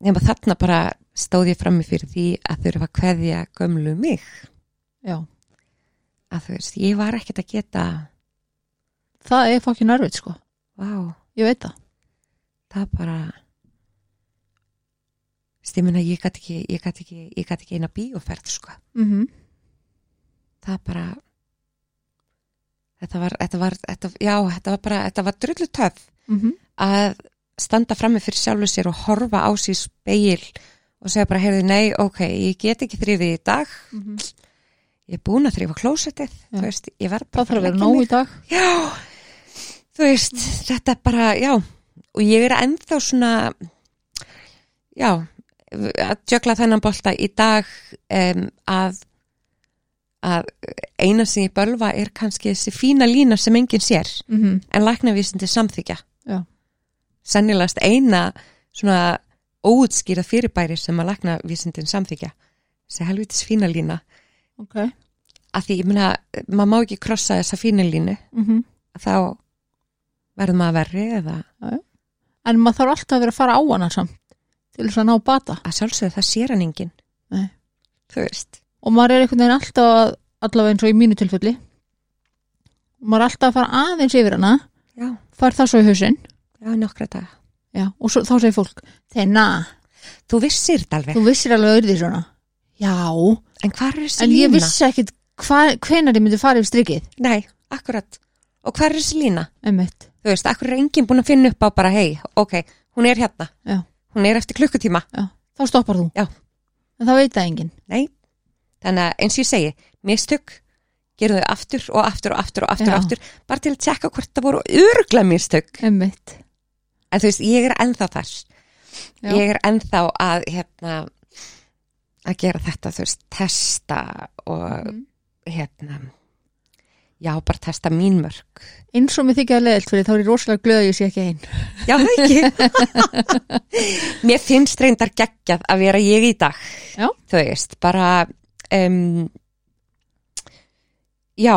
S2: nema þarna bara stóð ég frammi fyrir því að þurfa að kveðja gömlu mig
S1: Já.
S2: að þú veist, ég var ekkert að geta
S1: Það er fokkin erfitt, sko.
S2: vá,
S1: Ég veit það.
S2: það bara stimina ég gæti ekki ég gæti ekki, ég gæti ekki eina bíóferð sko,
S1: Mm -hmm.
S2: það bara þetta var, þetta var þetta, já, þetta var bara, þetta var drullu töf
S1: Mhm.
S2: að standa frammi fyrir sjálfu sér og horfa á sér speil og segja bara, heyrðu, nei, ok, ég get ekki þrýfið í dag,
S1: Mhm.
S2: ég er búin að þrýfa klósettið, þú veist, ég verð bara
S1: Það þarf að
S2: fara
S1: vera
S2: leggja
S1: nóg í
S2: mig.
S1: dag.
S2: Já, þú veist, þetta er bara, já, og ég er ennþá svona, já, að jökla þennan bolta í dag um, að, að eina sem ég bölva er kannski þessi fína lína sem enginn sér
S1: Mm -hmm.
S2: en læknavísindi samþykja
S1: Já.
S2: sennilegast eina svona óutskýra fyrirbæri sem að læknavísindin samþykja þessi helvitis fína lína
S1: Ok.
S2: af því ég meina, maður má ekki krossa þessa fína línu
S1: Mm -hmm.
S2: þá verður maður verri eða
S1: En maður þarf alltaf að vera að fara á hana samt til þess að ná bata.
S2: að sjálfsögðu það sér hann enginn
S1: Nei.
S2: þú veist
S1: Og maður er einhvern veginn alltaf að, allavega eins og í mínu tilfelli. Maður er alltaf að fara aðeins yfir hana,
S2: já,
S1: fær það svo í hausinn.
S2: já, nokkra dag
S1: Já, og svo, þá segir fólk, þeir na,
S2: þú vissir þetta alveg,
S1: þú vissir alveg að urði svona. Já,
S2: en hvað er þessi
S1: en
S2: lína?
S1: ég vissi ekkit hva, hvenar ég myndi fara yfir strikið.
S2: nei, akkurat, og hvað er þessi lína?
S1: Einmitt.
S2: þú veist, akkur er enginn búin að finna upp á bara hei, ok, hún er hérna
S1: Já.
S2: hún er eftir klukkutíma,
S1: Já, þá stoppar þú.
S2: Já.
S1: En það veit það enginn.
S2: nei þannig að eins og ég segi, mistök gerðu þau aftur og aftur og aftur og aftur,
S1: Já.
S2: og aftur bara til að tjekka hvort það voru örgla mistök,
S1: Einmitt.
S2: en þú veist, ég er ennþá þar
S1: Já.
S2: ég er ennþá að hérna að gera þetta, þú veist, testa og
S1: Mhm.
S2: hérna já, bara testa mín mörg
S1: eins og mér þykja að leðilt fyrir þá er ég rosalega glöð að ég sé ekki einn
S2: já, það ekki
S1: [LAUGHS]
S2: mér finnst reyndar geggjað að vera ég í dag
S1: Já.
S2: þú veist, bara um, já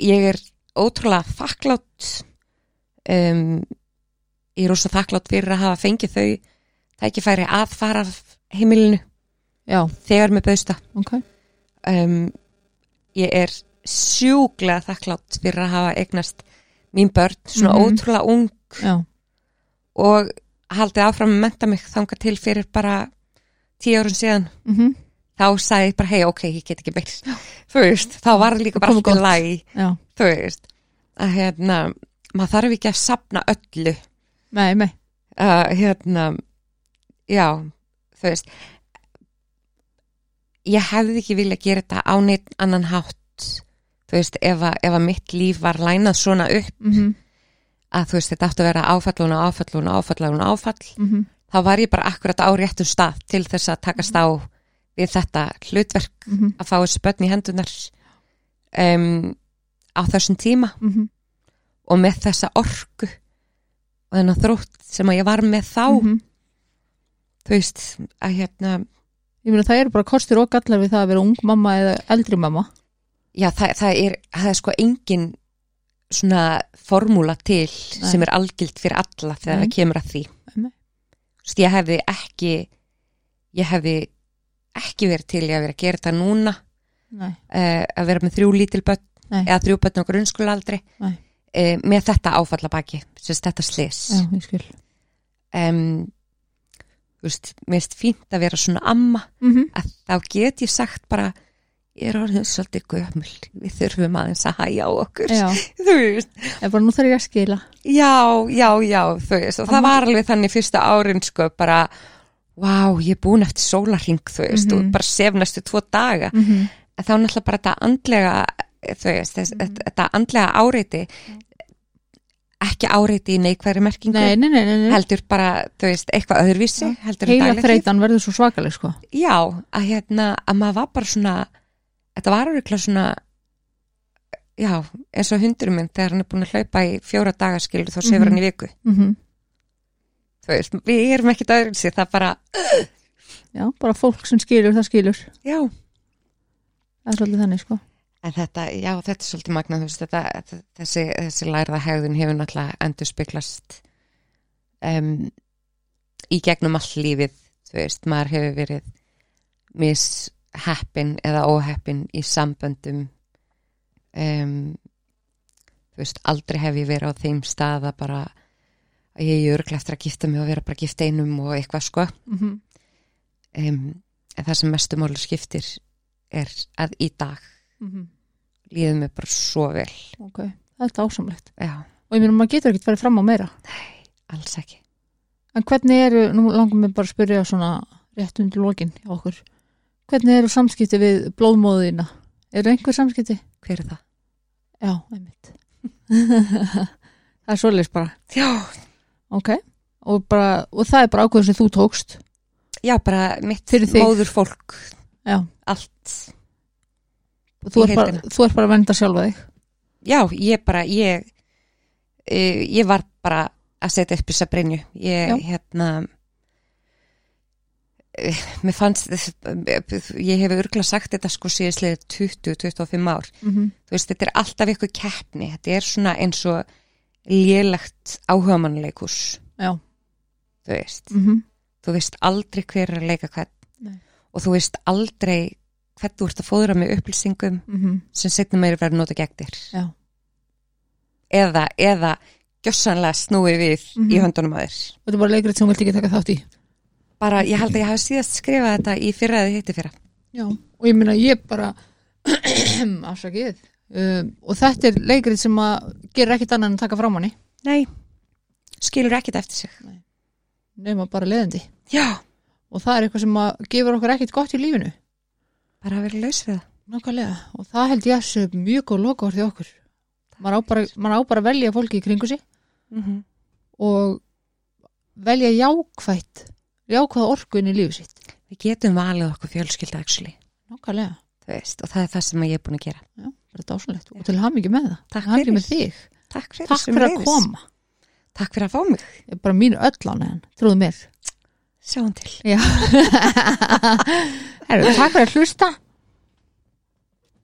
S2: ég er ótrúlega þakklátt um, ég er ósa þakklátt fyrir að hafa fengið þau tækifæri að fara af heimilinu
S1: Já,
S2: þegar með bauðsta
S1: ok
S2: um, ég er sjúglega þakklátt fyrir að hafa eignast mín börn, svona
S1: Mhm.
S2: ótrúlega ung
S1: Já,
S2: og haldið áfram að menta mig þanga til fyrir bara tíu árun síðan
S1: mm
S2: þá sagði ég bara, hei, ok, ég get ekki meir þú veist, þá var líka bara
S1: Komið
S2: allt í
S1: gott.
S2: læg
S1: já,
S2: þú veist, að hérna maður þarf ekki að sapna öllu
S1: nei, nei
S2: að hérna já, þú veist ég hefði ekki vilja gera þetta á neitt annan hátt þú veist, ef að, ef að mitt líf var lænað svona upp
S1: mm -hmm.
S2: að þú veist, þetta átti að vera áfallun og áfallun og áfallun og áfall
S1: mhm,
S2: þá var ég bara akkurat á réttum stað til þess að takast á
S1: Mhm.
S2: við þetta hlutverk að fá þessi börn í hendunar um, á þessum tíma
S1: mhm.
S2: og með þessa orku og þennan þrótt sem að ég var með þá
S1: Mhm.
S2: þú veist að hérna
S1: Ég meina það eru bara kostir og gallar við það að vera ung mamma eða eldri mamma
S2: já, það, það, er, það er sko engin svona formúla til
S1: Nei.
S2: sem er algild fyrir alla þegar
S1: Nei.
S2: það kemur að því
S1: Nei.
S2: Þú veist, ég hefði ekki ég hefði ekki verið til ég að vera að gera þetta núna
S1: Nei,
S2: uh, að vera með þrjú lítil börn
S1: Nei.
S2: eða þrjú börn á grunnskólaaldri
S1: Nei.
S2: uh, með þetta áfallabaki sérst þetta slis
S1: já, ég skil
S2: um, þú veist, mér finnst fínt að vera svona amma
S1: mm -hmm.
S2: að þá get ég sagt bara ég er orðin svolítið gömul við þurfum aðeins að hæja á okkur
S1: Já,
S2: þú veist,
S1: ég bara nú þarf ég að skila
S2: já, já, já þú veist, og það
S1: Amma-
S2: var alveg þannig fyrsta árin sko, bara, vá, ég er búin eftir sólarring, þú veist,
S1: Mhm.
S2: og bara sef næstu tvo daga,
S1: mm -hmm.
S2: en þá náttúrulega bara þetta andlega, þú veist þess,
S1: Mhm.
S2: þetta andlega áreiti ekki áreiti í neikværi merkingu,
S1: Nei, nei, nei, nei, nei.
S2: heldur bara þú veist, eitthvað öðruvísi, heldur en
S1: Heila
S2: daglegt líf.
S1: þreytan verður svo svakaleg sko
S2: já, að hérna að maður var bara svona þetta var auðvitað svona já, eins og hundur minn þegar hann er búin að hlaupa í fjóra dagaskilu þá sefur
S1: Mhm.
S2: hann í viku
S1: mm
S2: þú veist, við erum ekkit öðruvísi það bara,
S1: Já, bara fólk sem skilur, það skilur
S2: já
S1: Það er svolítið þannig sko
S2: en þetta, já, þetta er svolítið magna þú veist, þetta, þessi, þessi lærða hegðun hefur náttúrulega endur spiklast um, í gegnum all lífið þú veist, maður hefur verið misheppin eða óheppin í samböndum um, þú veist, aldrei hef ég verið á þeim stað að bara að ég er örglega eftir að gifta mig og vera bara gift einum og eitthvað sko
S1: mm
S2: um, en það sem mestu máli skiptir er að í dag mhm. líður mér bara svo vel
S1: Ok, það er þetta ásamlegt
S2: já,
S1: Og ég meina maður getur ekkert farið fram á meira
S2: alls ekki
S1: En hvernig eru, nú langar mig bara að spyrja svona rétt undir lokin hjá okkur Hvernig eru samskipti við blóðmóðina? Eru einhver samskipti?
S2: hver er það?
S1: Já, einmitt [LAUGHS] Það er svoleiðis bara
S2: já,
S1: Ok, og, bara, og það er bara ákveður sem þú tókst
S2: já bara mitt
S1: Fyrir þig.
S2: móður fólk
S1: Já,
S2: allt,
S1: og þú
S2: Í
S1: ert bara,
S2: heildina.
S1: þú ert bara að venda sjálfa þig
S2: já, ég bara ég, uh, ég var bara að setja upp þessa brinju ég,
S1: Já.
S2: hérna eh, mér fannst ég hef örgla sagt þetta sko síðislega 20-25 ár
S1: mm -hmm.
S2: þú veist, þetta er alltaf ykkur keppni þetta er svona eins og lélegt áhugamannleikus
S1: Já,
S2: þú veist
S1: mm -hmm.
S2: þú veist aldrei hver er að leika hvern
S1: Nei.
S2: og þú veist aldrei hvern þú ert að fóðra með upplýsingum sem setna meira verður nota gegn þér
S1: Já.
S2: eða, eða gjössanlega snúi við
S1: Mhm.
S2: í höndunum að þér
S1: þetta er bara leikrið sem þú vilt ekki taka þátt í
S2: bara ég held að ég hafi síðast skrifað þetta í fyrra eða hitti fyrra
S1: Já, og ég meina ég bara [CLEARS THROAT] afsakið um, og þetta er leikrið sem að gerir ekkit annað en að taka fram hann
S2: nei, skilur ekkit eftir sig
S1: nema bara leiðandi
S2: já,
S1: og það er eitthvað sem að gefur okkur ekkit gott í lífinu
S2: bara að vera laus við það
S1: Nákvæmlega, og það held ég að sé mjög góð lokaorði okkur maður á, bara, maður á bara að velja fólki í kringu sig
S2: mm -hmm.
S1: og velja jákvætt jákvæða orku inn í lífi sitt
S2: við getum valið okkur fjölskylda actually,
S1: Nákvæmlega,
S2: þú veist, og það er það sem ég er búin að gera
S1: Já.
S2: og
S1: alveg dásanlegt og til hamingi með það
S2: Takk
S1: hamingju
S2: fyrir.
S1: með þig,
S2: Takk fyrir,
S1: takk fyrir að
S2: sömuleiðis.
S1: koma
S2: Takk fyrir að fá mig.
S1: Ég er bara mín öll á neðan, trúðu mér
S2: Sjáum til.
S1: Herru, takk fyrir að hlusta